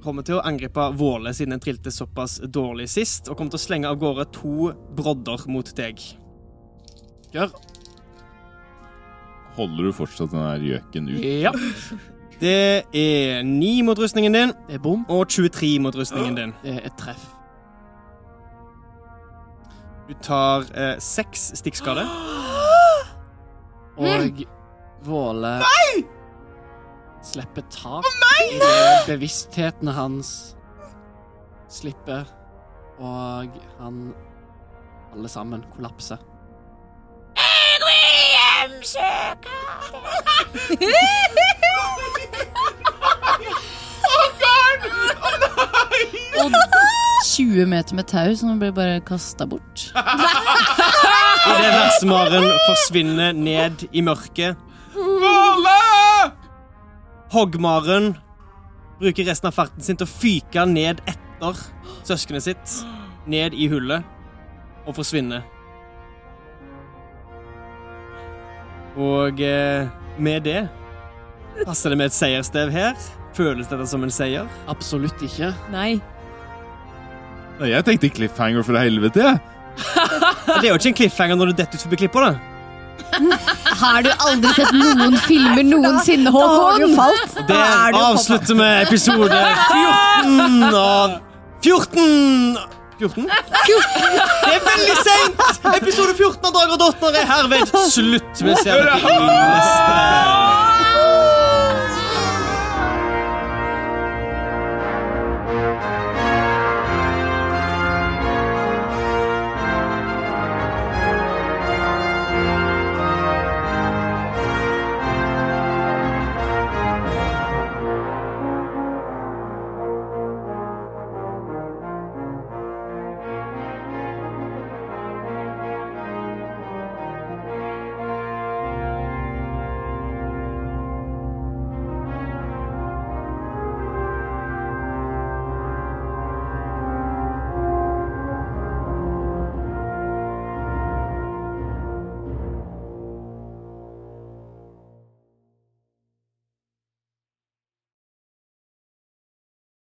[SPEAKER 2] kommer til å angripe Våle, siden den trilte såpass dårlig sist, og kommer til å slenge av gårde to brodder mot deg. Gjør.
[SPEAKER 4] Holder du fortsatt den der gjøken ut?
[SPEAKER 6] Ja.
[SPEAKER 2] Det er 9 mot rustningen din.
[SPEAKER 6] Det er bom.
[SPEAKER 2] Og 23 mot rustningen din.
[SPEAKER 6] Det er et treff.
[SPEAKER 2] Du tar eh, seks stikkskade.
[SPEAKER 6] Og Våle slipper tak i det bevisstheten hans slipper, og han alle sammen kollapser.
[SPEAKER 12] Jeg vil hjemsøke
[SPEAKER 15] Oh god! Oh nei!
[SPEAKER 11] Og 20 meter med tau som blir bare kasta bort.
[SPEAKER 2] Idet versemaren forsvinner ned i mørket.
[SPEAKER 17] Våle!
[SPEAKER 2] Hoggmaren bruker resten av farten sin til å fyke ned etter søskenet sitt. Ned i hullet. Og forsvinner. Og eh, med det Passer det med et seierstev her? Føles dette som en seier?
[SPEAKER 6] Absolutt ikke.
[SPEAKER 11] Nei.
[SPEAKER 4] Nei, jeg tenkte cliffhanger for helvete, jeg.
[SPEAKER 2] Men Det er jo ikke en cliffhanger når du detter ut forbi klippa, da.
[SPEAKER 5] Har du aldri sett noen filmer noensinne, Håkon? Da har du falt.
[SPEAKER 2] Der avslutter vi episode 14 av 14 14? Det er veldig sent! Episode 14 av Drager og Dotter er herved slutt. Vi ser dere i neste